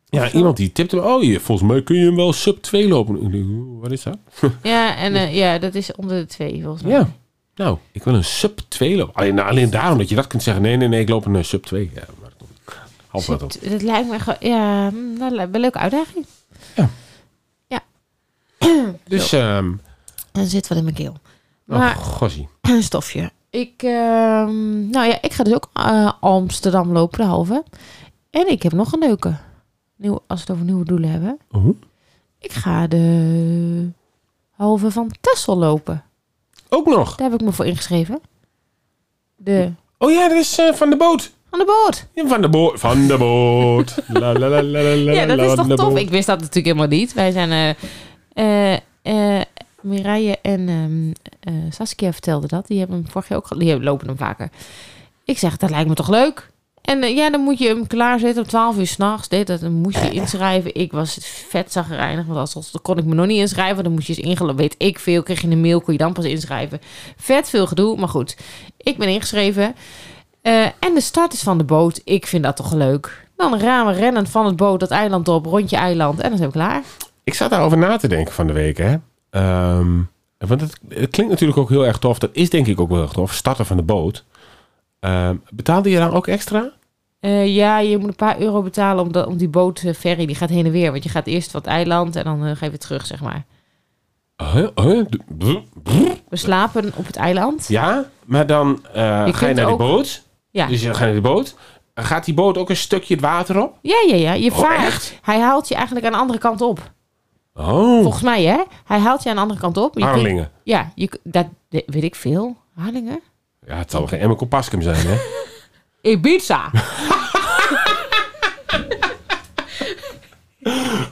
H: Ja, iemand die tipte me, oh, je, volgens mij kun je hem wel sub 2 lopen. Ik denk, oeh, Wat is dat?
I: Ja, en eh, ja, dat is onder de twee volgens mij.
H: Ja. Nou, ik wil een sub 2 lopen. Alleen, nou, alleen daarom dat je dat kunt zeggen. Nee, nee, nee, ik loop een eh, sub 2. Ja, maar dat komt half wat op.
I: T- Dat lijkt me gewoon, ja, mm, dat lijkt me een leuke uitdaging. Ja.
H: Dus, ehm
I: Dan zit wat in mijn keel.
H: oh,
I: Maar
H: gossie.
I: een stofje. Ik, ehm, nou ja, ik ga dus ook eh, Amsterdam lopen, de halve. En ik heb nog een leuke. Nieuw, als we het over nieuwe doelen hebben.
H: Oh.
I: Ik ga de halve van Tessel lopen.
H: Ook nog?
I: Daar heb ik me voor ingeschreven. De...
H: Oh ja, dat is eh, van de boot.
I: Van de boot.
H: Ja, van de boot. Van de boot. La, la, la, la, la,
I: Ja, dat
H: la,
I: is
H: van
I: toch
H: de
I: tof?
H: boot.
I: Ik wist dat natuurlijk helemaal niet. Wij zijn... eh eh eh, Mireille en ehm, eh, Saskia vertelden dat. Die hebben hem vorig jaar ook... ge- Die hebben- lopen hem vaker. Ik zeg, dat lijkt me toch leuk? En eh, ja, dan moet je hem klaarzetten om 12 uur s'nachts. Dit, dat, dan moest je inschrijven. Ik was vet zagrijnig, want anders kon ik me nog niet inschrijven. Dan moest je eens ingelogd. Weet ik veel. Kreeg je een mail, kon je dan pas inschrijven. Vet veel gedoe, maar goed. Ik ben ingeschreven. Eh, en de start is van de boot. Ik vind dat toch leuk. Dan ramen we rennend van het boot dat eiland op, rond je eiland. En dan zijn we klaar.
H: Ik zat daarover na te denken van de week, hè. Ehm, want het, het klinkt natuurlijk ook heel erg tof. Dat is denk ik ook wel heel erg tof. Starten van de boot. Ehm, betaalde je daar ook extra?
I: Eh, ja, je moet een paar euro betalen om, dat, om die bootferry. Die gaat heen en weer. Want je gaat eerst van het eiland en dan eh, ga je weer terug, zeg maar.
H: Huh? Huh? De- brr, brr.
I: We slapen op het eiland.
H: Ja, maar dan eh, ga je
I: kunt
H: naar
I: ook-
H: die boot.
I: Ja.
H: Dus je gaat naar die boot. Gaat die boot ook een stukje het water op?
I: Ja, ja, ja. Je
H: Oh,
I: vaart.
H: echt?
I: Hij haalt je eigenlijk aan de andere kant op.
H: Oh.
I: Volgens mij, hè? Hij haalt je aan de andere kant op. Je kunt-
H: Harlingen.
I: ja, je, k- dat dat weet ik veel. Harlingen?
H: Ja, het zal wel geen Emma Compascum zijn, hè?
I: Ibiza.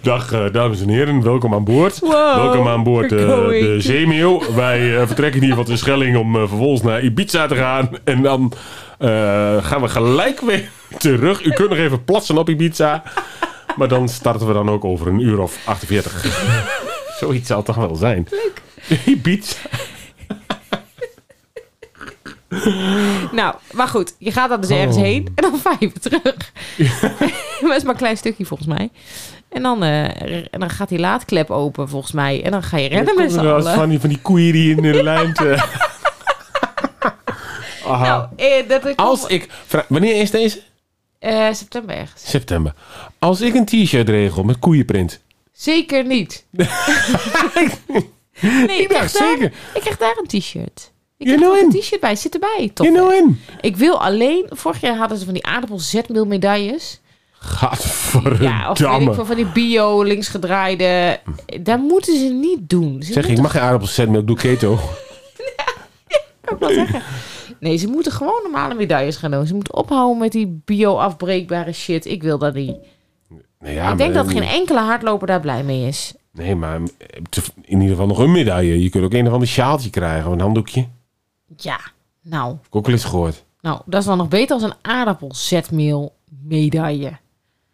H: Dag, eh, dames en heren. Welkom aan boord.
I: Wow,
H: welkom aan boord eh,
I: we're going.
H: de Zeemeeuw. Wij eh, vertrekken hier van de Schelling om eh, vervolgens naar Ibiza te gaan. En dan eh, gaan we gelijk weer terug. U kunt nog even platsen op Ibiza. Maar dan starten we dan ook over een uur of 48. Zoiets zal het toch wel zijn. Leuk. Ibiza.
I: nou, maar goed. Je gaat dan dus ergens
H: Oh.
I: heen en dan vaar je weer terug. maar is maar een klein stukje volgens mij. En dan, eh, r- en dan gaat die laadklep open volgens mij. En dan ga je rennen met z'n
H: wel eens
I: allen.
H: Van die, van die koeien die in de lijn. te- Aha.
I: Eh, dat ik
H: Als ik. vra- Wanneer is deze?
I: Eh, september ergens.
H: September. Als ik een t-shirt regel met koeienprint.
I: Zeker niet. nee, ik krijg, daar, ik krijg daar een t-shirt. Ik heb er een t-shirt bij. Zit erbij. Top. You
H: know
I: Ik wil alleen... Vorig jaar hadden ze van die aardappelzetmeel medailles. Ja, of weet ik
H: Gadverdamme.
I: veel, van die bio linksgedraaide.
H: Hm.
I: Daar moeten ze niet doen. Ze
H: Zeg, ik
I: moeten-
H: mag geen aardappelzetmeel, ik doe keto.
I: Nee, ze moeten gewoon normale medailles gaan doen. Ze moeten ophouden met die bio-afbreekbare shit. Ik wil dat niet.
H: Nee, ja,
I: ik denk
H: maar- eh,
I: dat geen e- enkele hardloper daar blij mee is.
H: Nee, maar eh, te- in ieder geval nog een medaille. Je kunt ook een of ander sjaaltje krijgen, of een handdoekje. Heb
I: Ja, nou.
H: ik ook wel eens gehoord.
I: Nou, dat is dan nog beter als een aardappelzetmeel medaille.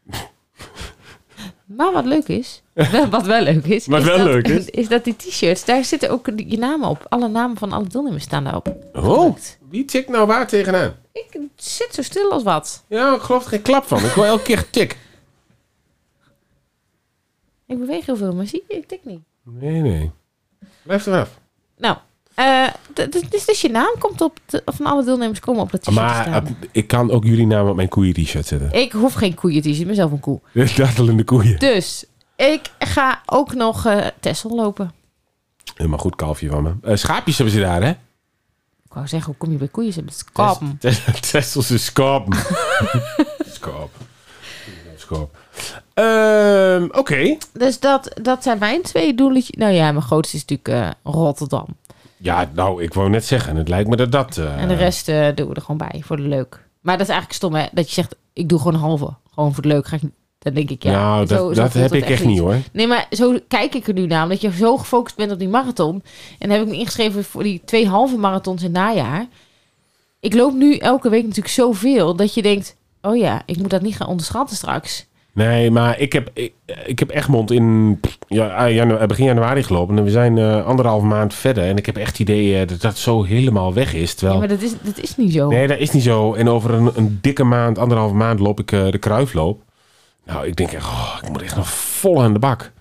I: maar wat leuk is, wel- wat wel leuk is,
H: Wat
I: is,
H: wel
I: dat,
H: leuk is.
I: dat die t-shirts, daar zitten ook die- je namen op. Alle namen van alle deelnemers staan daarop.
H: Oh, wie tikt nou waar tegenaan?
I: Ik zit zo stil als wat.
H: Ja, ik geloof er geen klap van. Ik hoor elke keer getik.
I: Ik beweeg heel veel, maar zie je, ik tik niet.
H: Nee, nee. Blijf er af.
I: Nou, eh, d- d- dus, dus je naam komt op, de- van alle deelnemers komen op dat t-shirt te
H: Maar
I: staan.
H: eh, ik kan ook jullie naam op mijn koeien-t-shirt zetten.
I: Ik hoef geen koeien t-shirt, ik ben zelf een koe.
H: De dartelende koeien.
I: Dus, ik ga ook nog eh Tessel lopen.
H: Helemaal goed kalfje van me. Eh, schaapjes hebben ze daar, hè?
I: Ik wou zeggen, hoe kom je bij koeien? Ze hebben het kapen.
H: Tesselse schapen. Schaap. Schaap. Ehm, Oké.
I: Dus dat, dat zijn mijn twee doeletjes. Nou ja, mijn grootste is natuurlijk eh, Rotterdam.
H: Ja, nou, ik wou net zeggen. Het lijkt me dat dat... eh,
I: En de rest eh, doen we er gewoon bij, voor de leuk. Maar dat is eigenlijk stom, hè? Dat je zegt, ik doe gewoon een halve. Gewoon voor de leuk. Ga ik, dan denk ik, ja.
H: Nou, dat- dat
I: voelt
H: heb
I: het
H: ik echt niet, hoor.
I: Nee, maar zo kijk ik er nu naar. Omdat je zo gefocust bent op die marathon. En dan heb ik me ingeschreven voor die twee halve marathons in het najaar. Ik loop nu elke week natuurlijk zoveel dat je denkt... Oh ja, ik moet dat niet gaan onderschatten straks.
H: Nee, maar ik heb, ik, ik heb Egmond in pff, ja, ah, janu- begin januari gelopen. En we zijn eh, anderhalf maand verder. En ik heb echt het idee eh, dat dat zo helemaal weg is. Terwijl...
I: Ja, maar dat is, dat is niet zo.
H: Nee, dat is niet zo. En over een, een dikke maand, anderhalve maand loop ik eh, de kruifloop. Nou, ik denk echt, oh, ik moet echt nog vol aan de bak.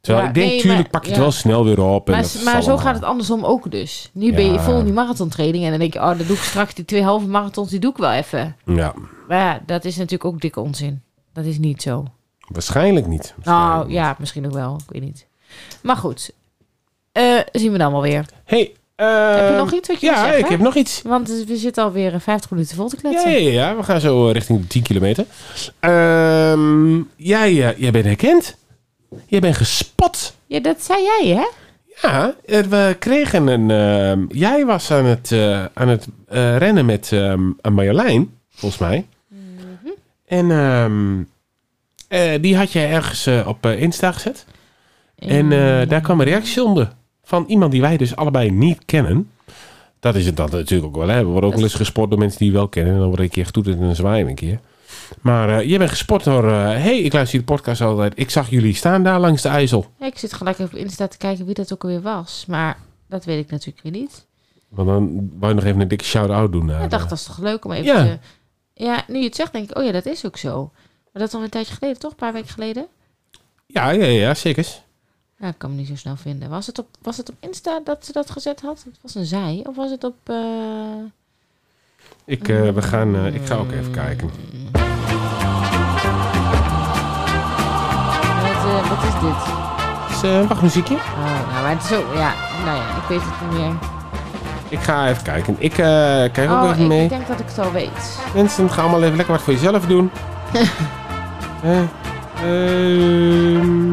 H: Terwijl
I: Ja,
H: ik denk,
I: nee,
H: tuurlijk
I: maar-
H: pak je
I: ja.
H: het wel snel weer op. en
I: Maar,
H: dat
I: s-
H: zal
I: maar zo
H: allemaal.
I: gaat het andersom ook dus. Nu ben je
H: Ja.
I: vol in die marathontraining en dan denk je, oh, dan doe ik straks die twee halve marathons, die doe ik wel even.
H: Ja,
I: Maar ja, dat is natuurlijk ook dikke onzin. Dat is niet zo.
H: waarschijnlijk niet.
I: Nou ja, misschien ook wel, ik weet niet. Maar goed, Eh, zien we dan wel weer.
H: Hey, eh,
I: heb je nog iets wat je
H: ja,
I: wil zeggen?
H: ik heb nog iets.
I: Want we zitten alweer eh, 50 minuten vol te
H: Ja,
I: kletsen.
H: ja, ja, we gaan zo eh, richting de 10 kilometer. Ehm, jij, eh, jij bent herkend. Jij bent gespot.
I: Ja, dat zei jij, hè?
H: Ja, eh, we kregen een... ehm, jij was aan het, eh, aan het eh, rennen met ehm, een Marjolein, volgens mij.
I: Mhm.
H: En ehm, eh, die had jij ergens eh, op eh, Insta gezet. En eh, daar kwam een reactie onder van iemand die wij dus allebei niet kennen. Dat is het dan natuurlijk ook wel. Hè? We worden ook wel eens gespot door mensen die we wel kennen. En dan word ik een keer getoeterd en dan zwaaien we een keer. Maar eh, jij bent gespot door... eh, hey, ik luister de podcast altijd. Ik zag jullie staan daar langs de IJssel.
I: Ja, ik zit gelijk even op Insta te kijken wie dat ook alweer was. Maar dat weet ik natuurlijk weer niet.
H: Want dan wou je nog even een dikke shout-out doen. Naar,
I: Ik dacht,
H: eh,
I: dat is toch leuk om even
H: Ja.
I: te... Ja, nu je het zegt, denk ik, oh ja, dat is ook zo. Maar dat is al een tijdje geleden, toch? Een paar weken geleden?
H: Ja, ja, ja, zeker.
I: Ja, ik kan hem niet zo snel vinden. Was het op, was het op Insta dat ze dat gezet had? Het was een zij. Of was het op... eh,
H: Ik, eh, we gaan, eh, ik ga ook even kijken.
I: wat, eh, wat is dit?
H: Is, eh, wacht, muziekje?
I: Oh, nou, maar het is ook... Ja, nou ja, ik weet het niet meer.
H: Ik ga even kijken. Ik eh, kijk ook
I: oh,
H: even
I: ik,
H: mee.
I: ik denk dat ik het al weet.
H: Mensen, ga allemaal even lekker wat voor jezelf doen. Eh, ehm.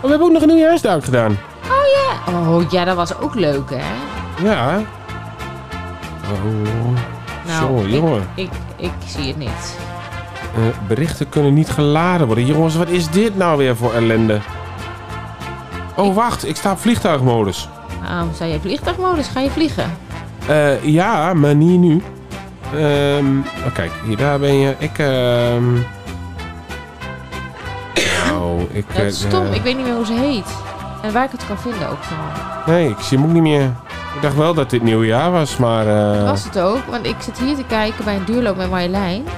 H: Oh, we hebben ook nog een nieuwjaarsduik gedaan.
I: Oh ja! Oh ja, dat was ook leuk, hè?
H: Ja. Oh.
I: Nou,
H: Zo, jongen.
I: Ik, ik zie het niet.
H: Eh, berichten kunnen niet geladen worden. Jongens, wat is dit nou weer voor ellende? Oh, wacht. Ik sta op vliegtuigmodus.
I: Ah, zei je vliegtuigmodus? Ga je vliegen?
H: Eh, ja, maar niet nu. Ehm, oh, kijk, hier, daar ben je. Ik, ehm... Nou, ik...
I: Ja, het is stom.
H: eh,
I: Ik weet niet meer hoe ze heet. En waar ik het kan vinden ook vooral.
H: Nee, ik zie hem ook niet meer. Ik dacht wel dat dit nieuwjaar was, maar... eh,
I: Was het ook? Want ik zit hier te kijken bij een duurloop met Marjolein. Eh,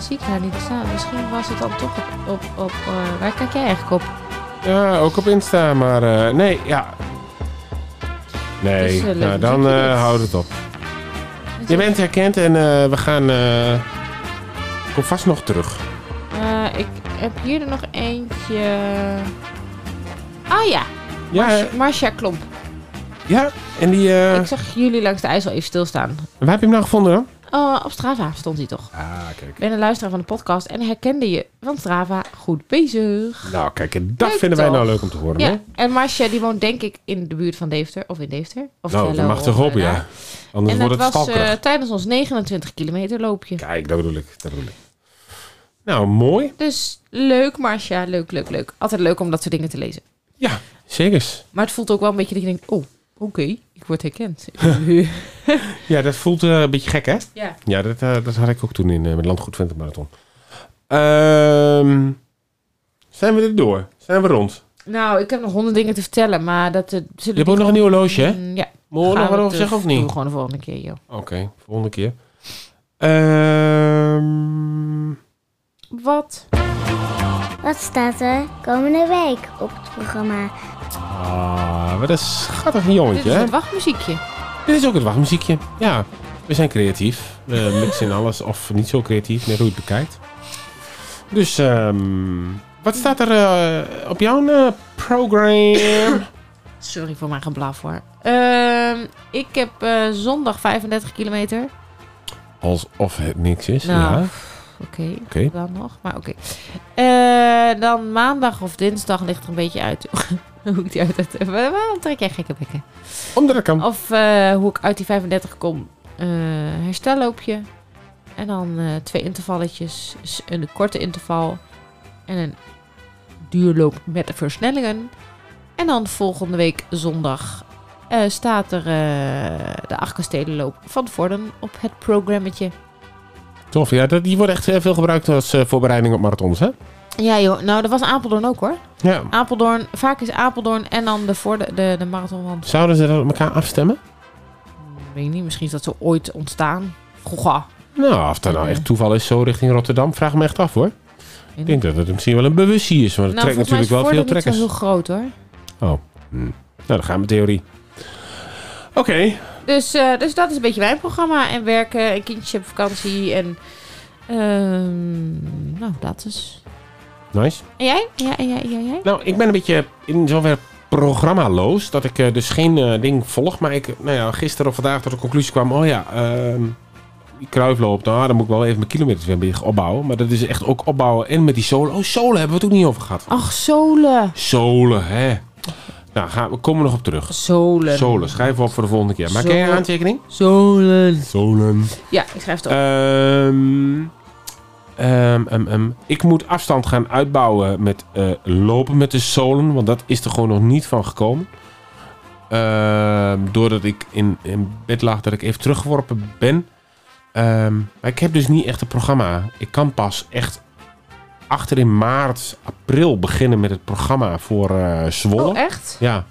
I: zie ik haar niet staan. Misschien was het dan toch op... op, op eh, waar kijk jij eigenlijk op?
H: Ja, ook op Insta, maar eh, nee, ja.
I: Dus,
H: Nee,
I: eh, leuk
H: nou,
I: dat
H: dan
I: je dit-
H: eh houdt het op. Je bent herkend en eh, we gaan... eh, ik kom vast nog terug.
I: Eh, ik heb hier er nog eentje. Ah ja,
H: Ja, hè?
I: Marcia Klomp.
H: ja en die... eh,
I: Ik zag jullie langs de ijs al even stilstaan.
H: Waar heb je hem nou gevonden hoor?
I: Oh, op Strava stond hij toch.
H: Ah, kijk.
I: Ik ben een luisteraar van de podcast en herkende je van Strava goed bezig.
H: Nou, kijk, en dat
I: Leuk
H: vinden wij
I: toch?
H: nou leuk om te horen. hè?
I: Ja, en Marcia die woont denk ik in de buurt van Deventer. Of in Deventer. Of
H: nou,
I: Twello,
H: dat mag
I: of,
H: toch op,
I: eh,
H: ja.
I: daar.
H: Anders
I: en
H: wordt
I: dat
H: het
I: was eh,
H: stalkerig.
I: tijdens ons 29 kilometer loopje.
H: Kijk, dat bedoel ik, dat bedoel ik. Nou, mooi.
I: Dus leuk Marcia, leuk, leuk, leuk. Altijd leuk om dat soort dingen te lezen.
H: Zekers.
I: Maar het voelt ook wel een beetje dat je denkt, oh, oké, ik word herkend.
H: Ja, dat voelt eh, een beetje gek, hè?
I: Ja.
H: Ja, dat, eh, dat had ik ook toen in eh, met Landgoed Twente Marathon. Ehm, zijn we er door? Zijn we rond?
I: Nou, ik heb nog honderd dingen te vertellen, maar dat... eh, zullen
H: Je hebt
I: die
H: ook nog een nieuw horloge, hè?
I: Mm, Ja.
H: Moet je
I: Gaan
H: nog
I: we
H: wat over
I: terug-
H: zeggen of niet?
I: Doen we gewoon de volgende keer, joh.
H: Oké, volgende keer. Ehm,
I: Wat?
M: Wat staat er komende week op het programma?
H: ah, wat een schattig jongetje,
I: Dit is
H: hè?
I: het wachtmuziekje.
H: Dit is ook het wachtmuziekje. Ja, we zijn creatief. We mixen in alles, of niet zo creatief, net hoe je het bekijkt. Dus, ehm, wat staat er eh, op jouw eh, program?
I: Sorry voor mijn geblaf hoor. Ehm, ik heb eh, zondag 35 kilometer.
H: Alsof het niks is,
I: Nou,
H: ja.
I: pff, oké.
H: Oké.
I: Dan nog, maar oké. Eh, dan maandag of dinsdag ligt er een beetje uit hoe ik die uit heb. Waar- Waarom trek jij gekke bekken?
H: Omdat ik kan.
I: Of eh, hoe ik uit die 35 kom. Eh, herstelloopje. En dan eh, twee intervalletjes. S- Een korte interval. En een duurloop met de versnellingen. En dan volgende week zondag eh, staat er eh, de Achtkastelenloop van Vorden op het programmetje.
H: Tof, ja, dat, die wordt echt eh, veel gebruikt als eh, voorbereiding op marathons, hè?
I: Ja joh, nou dat was Apeldoorn ook hoor.
H: Ja.
I: Apeldoorn, vaak is Apeldoorn en dan de, voor de, de, de marathon van...
H: Zouden ze dat op elkaar afstemmen?
I: Weet ik niet, misschien is dat zo ooit ontstaan. Goga.
H: Nou, of dat nou echt toeval is, zo richting Rotterdam, vraag me echt af, hoor. Ik denk dat het misschien wel een bewustzijn is, want het trekt natuurlijk wel veel trekkers.
I: Nou, is Vorden niet zo heel groot hoor.
H: Oh, hm. nou, dan gaan we theorie. Oké,
I: Dus, eh, dus dat is een beetje mijn programma. En werken, en kindjes op vakantie en... ehm, nou, dat is...
H: nice.
I: En jij? Ja, en jij, en jij, en jij?
H: Nou, ik ben een beetje in zover programmaloos. Dat ik eh, dus geen eh, ding volg. Maar ik, eh, nou ja, gisteren of vandaag tot de conclusie kwam. Oh ja, ehm die kruifloop. Nou, dan moet ik wel even mijn kilometers weer een beetje opbouwen. Maar dat is echt ook opbouwen. En met die zolen. Oh, zolen hebben we het ook niet over gehad.
I: Ach, zolen.
H: Zolen, hè. Nou, gaan, we komen nog op terug.
I: Zolen.
H: Zolen. Schrijven we op voor de volgende keer. Maak jij een
I: Zolen.
H: aantekening?
I: Zolen.
H: Zolen.
I: Ja, ik schrijf het
H: Eh,
I: op.
H: Ehm, ehm, ehm, ehm. Ik moet afstand gaan uitbouwen met eh, lopen met de zolen. Want dat is er gewoon nog niet van gekomen. Ehm, doordat ik in, in bed lag, dat ik even teruggeworpen ben. Ehm, maar ik heb dus niet echt een programma. Ik kan pas echt achter in maart, april beginnen met het programma voor eh Zwolle.
I: Oh, echt?
H: Ja.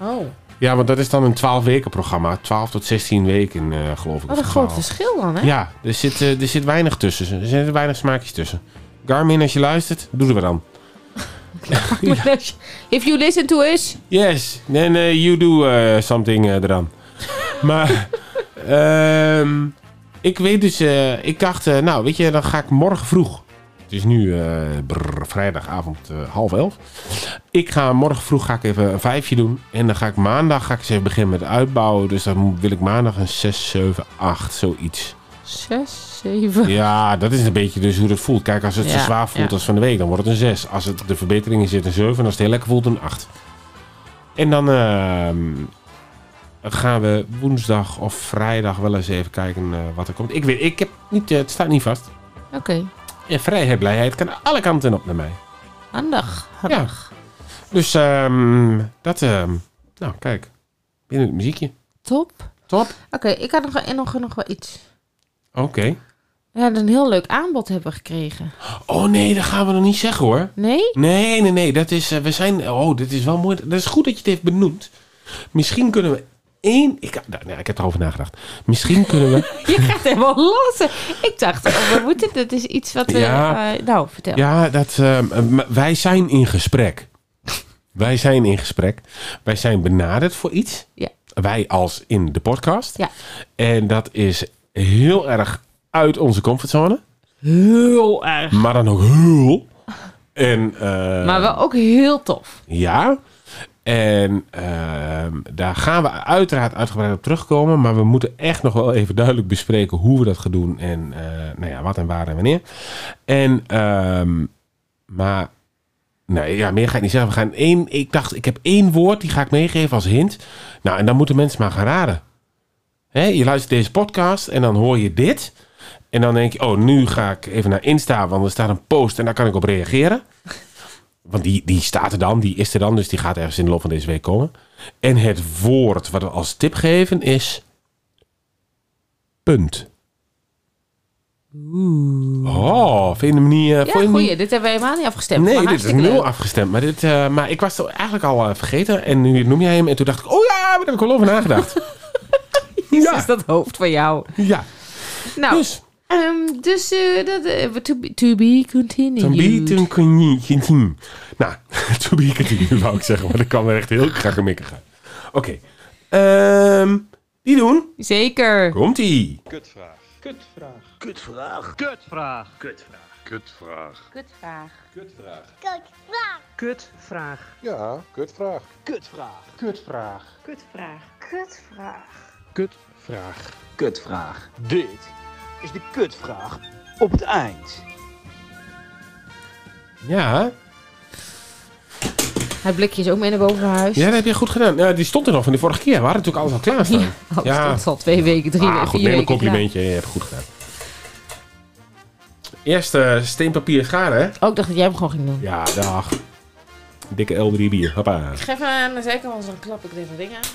I: Oh,
H: ja, want dat is dan een 12 weken programma. 12 tot 16 weken, eh, geloof ik.
I: wat
H: of
I: een groot
H: 12.
I: verschil dan, hè?
H: Ja, er zit, eh, er zit weinig tussen. Er zitten weinig smaakjes tussen. Garmin, als je luistert, doe er wat aan.
I: If you listen to us...
H: Yes, then eh, you do eh, something eh, eraan. maar ehm, ik weet dus, eh, ik dacht, eh, nou weet je, dan ga ik morgen vroeg. Het is nu eh, brrr, vrijdagavond eh, half elf. Ik ga morgen vroeg ga ik even een vijfje doen. En dan ga ik maandag ga ik eens even beginnen met uitbouwen. Dus dan wil ik maandag een 6, 7, 8, zoiets.
I: Zes, zeven...
H: Ja, dat is een beetje dus hoe dat voelt. Kijk, als het zo
I: Ja,
H: zwaar voelt
I: ja.
H: als van de week, dan wordt het een 6. Als het de verbeteringen zit een 7 en als het heel lekker voelt, een 8. En dan ehm, gaan we woensdag of vrijdag wel eens even kijken eh, wat er komt. Ik weet, ik heb niet, eh, het staat niet vast.
I: Oké,
H: En vrijheid, blijheid kan alle kanten op naar mij.
I: handig.
H: Ja.
I: handig.
H: Dus ehm, dat, ehm, nou kijk, binnen het muziekje.
I: Top.
H: Top.
I: Oké, ik had nog, nog, nog wel iets.
H: Oké.
I: We hadden een heel leuk aanbod hebben gekregen.
H: Oh nee, dat gaan we nog niet zeggen hoor.
I: Nee?
H: Nee, nee, nee. Dat is, eh, we zijn, oh, dit is wel mooi. Dat is goed dat je het heeft benoemd. Misschien kunnen we één... Ik, nou, nou, ik heb erover nagedacht. Misschien kunnen we...
I: Je gaat helemaal los. Ik dacht, oh, we moeten, dat is iets wat we...
H: Ja.
I: eh, nou, vertel.
H: Ja, dat, ehm, m- wij zijn in gesprek. Wij zijn in gesprek. Wij zijn benaderd voor iets.
I: Ja.
H: Wij als in de podcast.
I: Ja.
H: En dat is heel erg uit onze comfortzone.
I: Heel erg.
H: Maar dan ook heel. En, eh,
I: Maar wel ook heel tof.
H: Ja. En ehm, daar gaan we uiteraard uitgebreid op terugkomen. Maar we moeten echt nog wel even duidelijk bespreken hoe we dat gaan doen. En eh, nou ja, wat en waar en wanneer. En, ehm, maar, nee, ja, meer ga ik niet zeggen. We gaan één, ik dacht, ik heb één woord, die ga ik meegeven als hint. Nou, en dan moeten mensen maar gaan raden. Hè, je luistert deze podcast en dan hoor je dit. En dan denk je, oh, nu ga ik even naar Insta, want er staat een post en daar kan ik op reageren. Want die, die staat er dan, die is er dan, dus die gaat ergens in de loop van deze week komen. En het woord wat we als tip geven is. Punt. Oh, vind je hem niet. eh,
I: Ja,
H: vond je hem niet-
I: goeie. Dit hebben we helemaal niet afgestemd.
H: Nee,
I: maar
H: dit is
I: hartstikke leuk.
H: nul afgestemd. Maar, dit, eh, maar ik was het eigenlijk al eh, vergeten. En nu noem jij hem. En toen dacht ik, oh ja, maar daar heb ik wel over nagedacht.
I: Is dus dat hoofd van jou?
H: Ja.
I: Nou,
H: dus,
I: dus eh, dat, eh, to, be, to be continued.
H: To be to continue. Nou, to be continue wou ik zeggen. Maar dat kan er echt heel graag mikken gaan. Oké. Ehm, die doen.
I: Zeker.
H: Komt-ie.
L: Kutvraag. Kutvraag.
B: Kutvraag.
L: Kutvraag.
B: Kutvraag.
L: Kutvraag.
B: Kutvraag.
L: Kutvraag.
B: Kutvraag. Kutvraag.
L: Ja, kutvraag.
B: Kutvraag. Kutvraag.
N: Kutvraag. Kutvraag.
B: Kutvraag. Kutvraag. Dit is de kutvraag op het eind.
H: Ja,
I: Hij blikje is ook mee naar boven haar huis.
H: ja, dat heb je goed gedaan. Ja, die stond er nog van de vorige keer. We hadden natuurlijk alles al klaarstaan.
I: Oh, Dat is al twee weken, drie
H: Ah,
I: weken,
H: goed,
I: vier
H: neem een
I: weken
H: complimentje. Je hebt het goed gedaan. Eerst eh, steen, papier, scharen, hè?
I: klaar. Oh, ik dacht dat jij hem gewoon ging doen.
H: Ja, dag. Dikke L3 bier. Hoppa.
I: Ik geef hem aan de zijkant, want dan klap ik deze ding aan.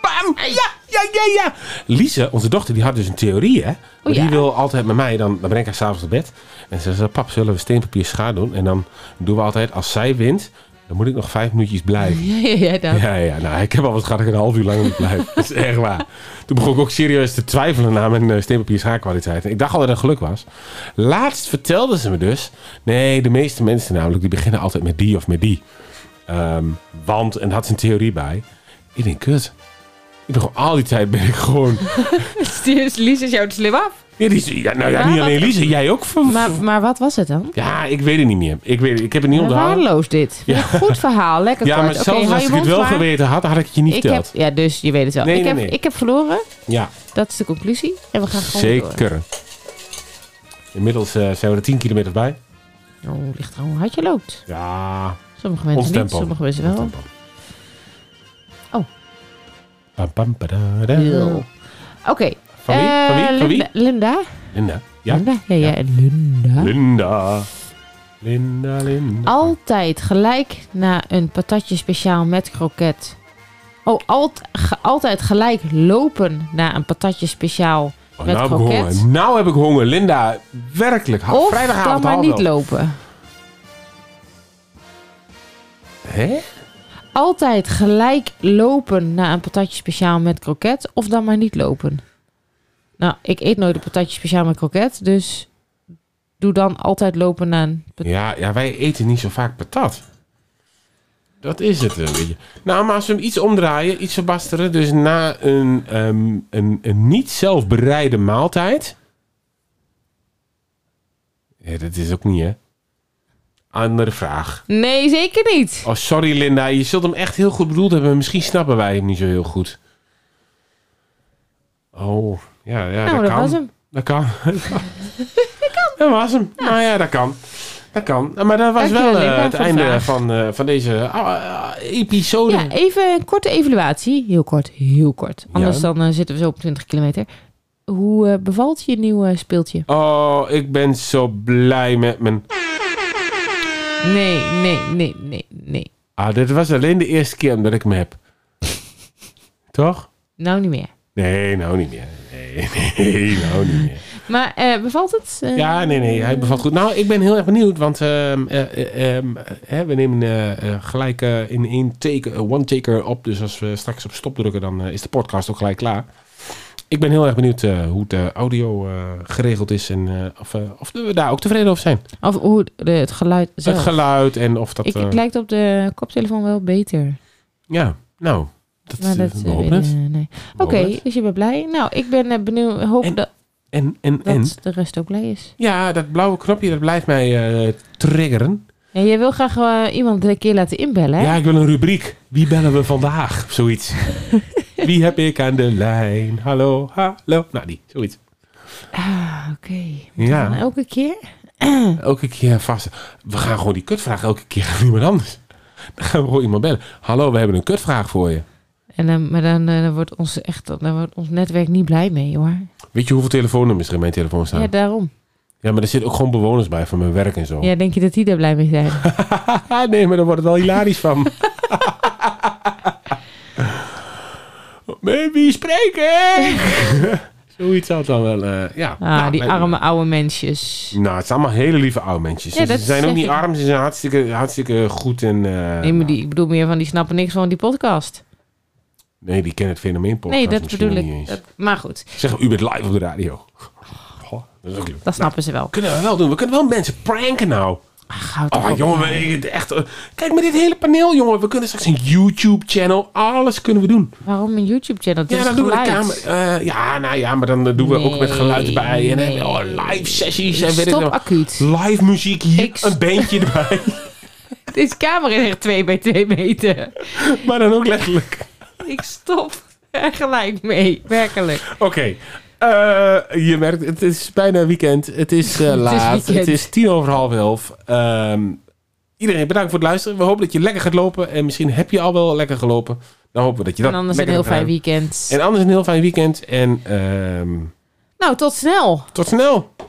H: Bam! Ja, ja, ja, ja. Lise, onze dochter, die had dus een theorie, hè? Maar
I: ja.
H: Die wil altijd met mij, dan, dan breng ik haar s'avonds naar bed. En ze zegt, pap, zullen we steen, papier, schaar doen? En dan doen we altijd, als zij wint, dan moet ik nog vijf minuutjes blijven.
I: Ja, ja, ja, dat.
H: Ja, ja, nou, ik heb al wat gehad, ik een half uur lang niet blijven. Dat is echt waar. Toen begon ik ook serieus te twijfelen aan mijn eh, steenpapier schaarkwaliteit. En Ik dacht al dat het geluk was. Laatst vertelde ze me dus... Nee, de meeste mensen namelijk, die beginnen altijd met die of met die. Ehm, want, en daar had ze een theorie bij. Ik denk, kut. Ik ben gewoon, al die tijd ben ik gewoon...
I: Dus Lies is jou te slim af.
H: Ja, die, is- ja, nou ja,
I: Maar
H: niet
I: wat-
H: alleen Lise, jij ook.
I: Maar, maar wat was het dan?
H: Ja, ik weet het niet meer. Ik, weet, ik heb het niet onthouden.
I: Waardeloos dit.
H: Ja.
I: Goed verhaal, lekker
H: Ja,
I: kort.
H: maar
I: Oké,
H: zelfs
I: hou
H: als
I: je
H: ik het
I: mond
H: wel
I: maar.
H: geweten had, had ik het je niet
I: ik heb,
H: verteld.
I: ja, dus je weet het wel.
H: Nee,
I: ik,
H: nee,
I: heb,
H: nee.
I: ik heb verloren.
H: Ja.
I: Dat is de conclusie. En we gaan gewoon door.
H: Zeker. Inmiddels eh, zijn we er 10 kilometer bij.
I: Oh, ligt er hoe hard je loopt.
H: Ja.
I: Sommige mensen
H: Ons
I: niet,
H: tempo.
I: sommige mensen wel.
H: Ons tempo.
I: Oh.
H: Pam, pam, padada.
I: Heel. Oké.
H: Van wie?
I: eh,
H: Van wie? Van wie?
I: Linda. Linda.
H: Linda. Ja.
I: Linda. Ja, ja. Linda.
H: Linda. Linda, Linda.
I: Altijd gelijk na een patatje speciaal met kroket. Oh, alt, ge- altijd gelijk lopen na een patatje speciaal
H: Oh,
I: met
H: nou heb ik
I: kroket.
H: honger. Nou heb ik honger. Linda, werkelijk. Ha-
I: Of
H: vrijdagavond
I: dan maar
H: half
I: niet
H: elf.
I: lopen.
H: Hè?
I: Altijd gelijk lopen na een patatje speciaal met kroket. Of dan maar niet lopen. Nou, ik eet nooit een patatje speciaal met kroket. Dus doe dan altijd lopen na een...
H: Ja, ja, wij eten niet zo vaak patat. Dat is het een beetje. Nou, maar als we hem iets omdraaien, iets verbasteren. Dus na een, ehm, een, een niet zelf bereide maaltijd. Ja, dat is ook niet, hè? Andere vraag.
I: Nee, zeker niet.
H: Oh, sorry Linda, je zult hem echt heel goed bedoeld hebben. Misschien snappen wij hem niet zo heel goed. Oh, ja, ja
I: Nou,
H: dat,
I: dat
H: kan.
I: was hem.
H: Dat kan. dat kan. Dat was hem. Nou ja, dat kan. Dat kan. Maar dat was
I: Dank je,
H: wel eh,
I: Linda,
H: het
I: voor de
H: einde
I: vraag.
H: van, eh, van deze ah, ah, episode.
I: Ja, even een korte evaluatie. Heel kort, heel kort. Anders
H: Ja.
I: dan eh, zitten we zo op 20 kilometer. Hoe eh, bevalt je nieuwe speeltje?
H: Oh, ik ben zo blij met mijn...
I: Nee, nee, nee, nee, nee.
H: Ah, dit was alleen de eerste keer omdat ik hem heb. Toch?
I: Nou niet meer.
H: Nee, nou niet meer. Nee, Nee, nee, nou niet meer.
I: Maar eh, bevalt het? Eh,
H: Ja, nee, nee, hij bevalt goed. Nou, ik ben heel erg benieuwd, want ehm, eh, eh, ehm, hè, we nemen eh, eh, gelijk eh, in één take, eh, one taker op. Dus als we straks op stop drukken, dan eh, is de podcast ook gelijk klaar. Ik ben heel erg benieuwd eh, hoe de audio eh, geregeld is en eh, of, eh, of we daar ook tevreden over zijn.
I: Of hoe de- het geluid zelf.
H: Het geluid en of dat...
I: ik,
H: eh,
I: het lijkt op de koptelefoon wel beter.
H: Ja, nou, dat,
I: Maar dat,
H: we
I: eh,
H: hopen
I: weet-
H: het.
I: eh, nee.
H: We
I: Oké,
H: hopen het.
I: dus je bent blij. Nou, ik ben eh, benieuwd. Hoop dat,
H: En, en,
I: eh, dat
H: en.
I: de rest ook blij is.
H: Ja, dat blauwe knopje, dat blijft mij eh, triggeren.
I: Ja, jij wil graag eh, iemand een keer laten inbellen, hè?
H: Ja, ik wil een rubriek. Wie bellen we vandaag? Of Zoiets. Wie heb ik aan de lijn? Hallo, hallo. Nou, die. Zoiets.
I: Ah, Oké.
H: Ja.
I: Dan Elke keer?
H: Elke keer vast. We gaan gewoon die kutvraag elke keer aan iemand anders. Dan gaan we gewoon iemand bellen. Hallo, we hebben een kutvraag voor je.
I: En dan, maar dan, eh, dan wordt ons echt, dan wordt ons netwerk niet blij mee, hoor.
H: Weet je hoeveel telefoonnummers er in mijn telefoon staan?
I: Ja,
H: Ja,
I: daarom.
H: maar er zitten ook gewoon bewoners bij van mijn werk en zo.
I: Ja, denk je dat die daar blij mee zijn?
H: Ah, nee, maar dan wordt het wel hilarisch van. Met wie spreken? Zoiets had dan wel. eh, ja.
I: Ah,
H: Nou,
I: die
H: nee,
I: arme oude mensjes.
H: Nou, het zijn allemaal hele lieve oude mensen.
I: Ja,
H: ze
I: dat
H: zijn ook
I: zeg
H: niet
I: ik.
H: arm, ze zijn hartstikke, hartstikke goed en... eh,
I: Nee, maar die, ik bedoel meer van die snappen niks van die podcast.
H: nee, die kennen het fenomeen podcast
I: nee, dat
H: misschien
I: bedoel
H: niet
I: ik.
H: eens.
I: Dat- maar goed,
H: Zeg, u bent live op de radio. Goh, dat is ook leuk.
I: dat snappen ze wel.
H: Kunnen we wel doen. We kunnen wel mensen pranken nou. oh, jongen, we- ik- echt. eh, Kijk, met dit hele paneel, jongen. We kunnen straks een YouTube-channel. Alles kunnen we doen.
I: Waarom een YouTube-channel?
H: Ja, dan doen we de kamer. eh, ja, nou ja, maar dan eh, doen we ook met geluid bij. En
I: nee.
H: eh, oh, live sessies en weet ik
I: Stop
H: nog.
I: acuut.
H: Live muziek hier, een bandje erbij.
I: Deze kamer is echt 2 bij 2 meter.
H: maar dan ook letterlijk.
I: Ik stop er gelijk mee, werkelijk.
H: Oké. Eh, je merkt, het is bijna weekend. Het is eh, laat. het, is
I: weekend.
H: tien over half elf. Ehm, iedereen bedankt voor het luisteren. We hopen dat je lekker gaat lopen. En misschien heb je al wel lekker gelopen. Dan hopen we dat je dat
I: En anders een
H: lekker
I: heel
H: hebt
I: fijn
H: gedaan.
I: weekend.
H: En anders een heel fijn weekend. En ehm,
I: Nou, tot snel.
H: tot snel.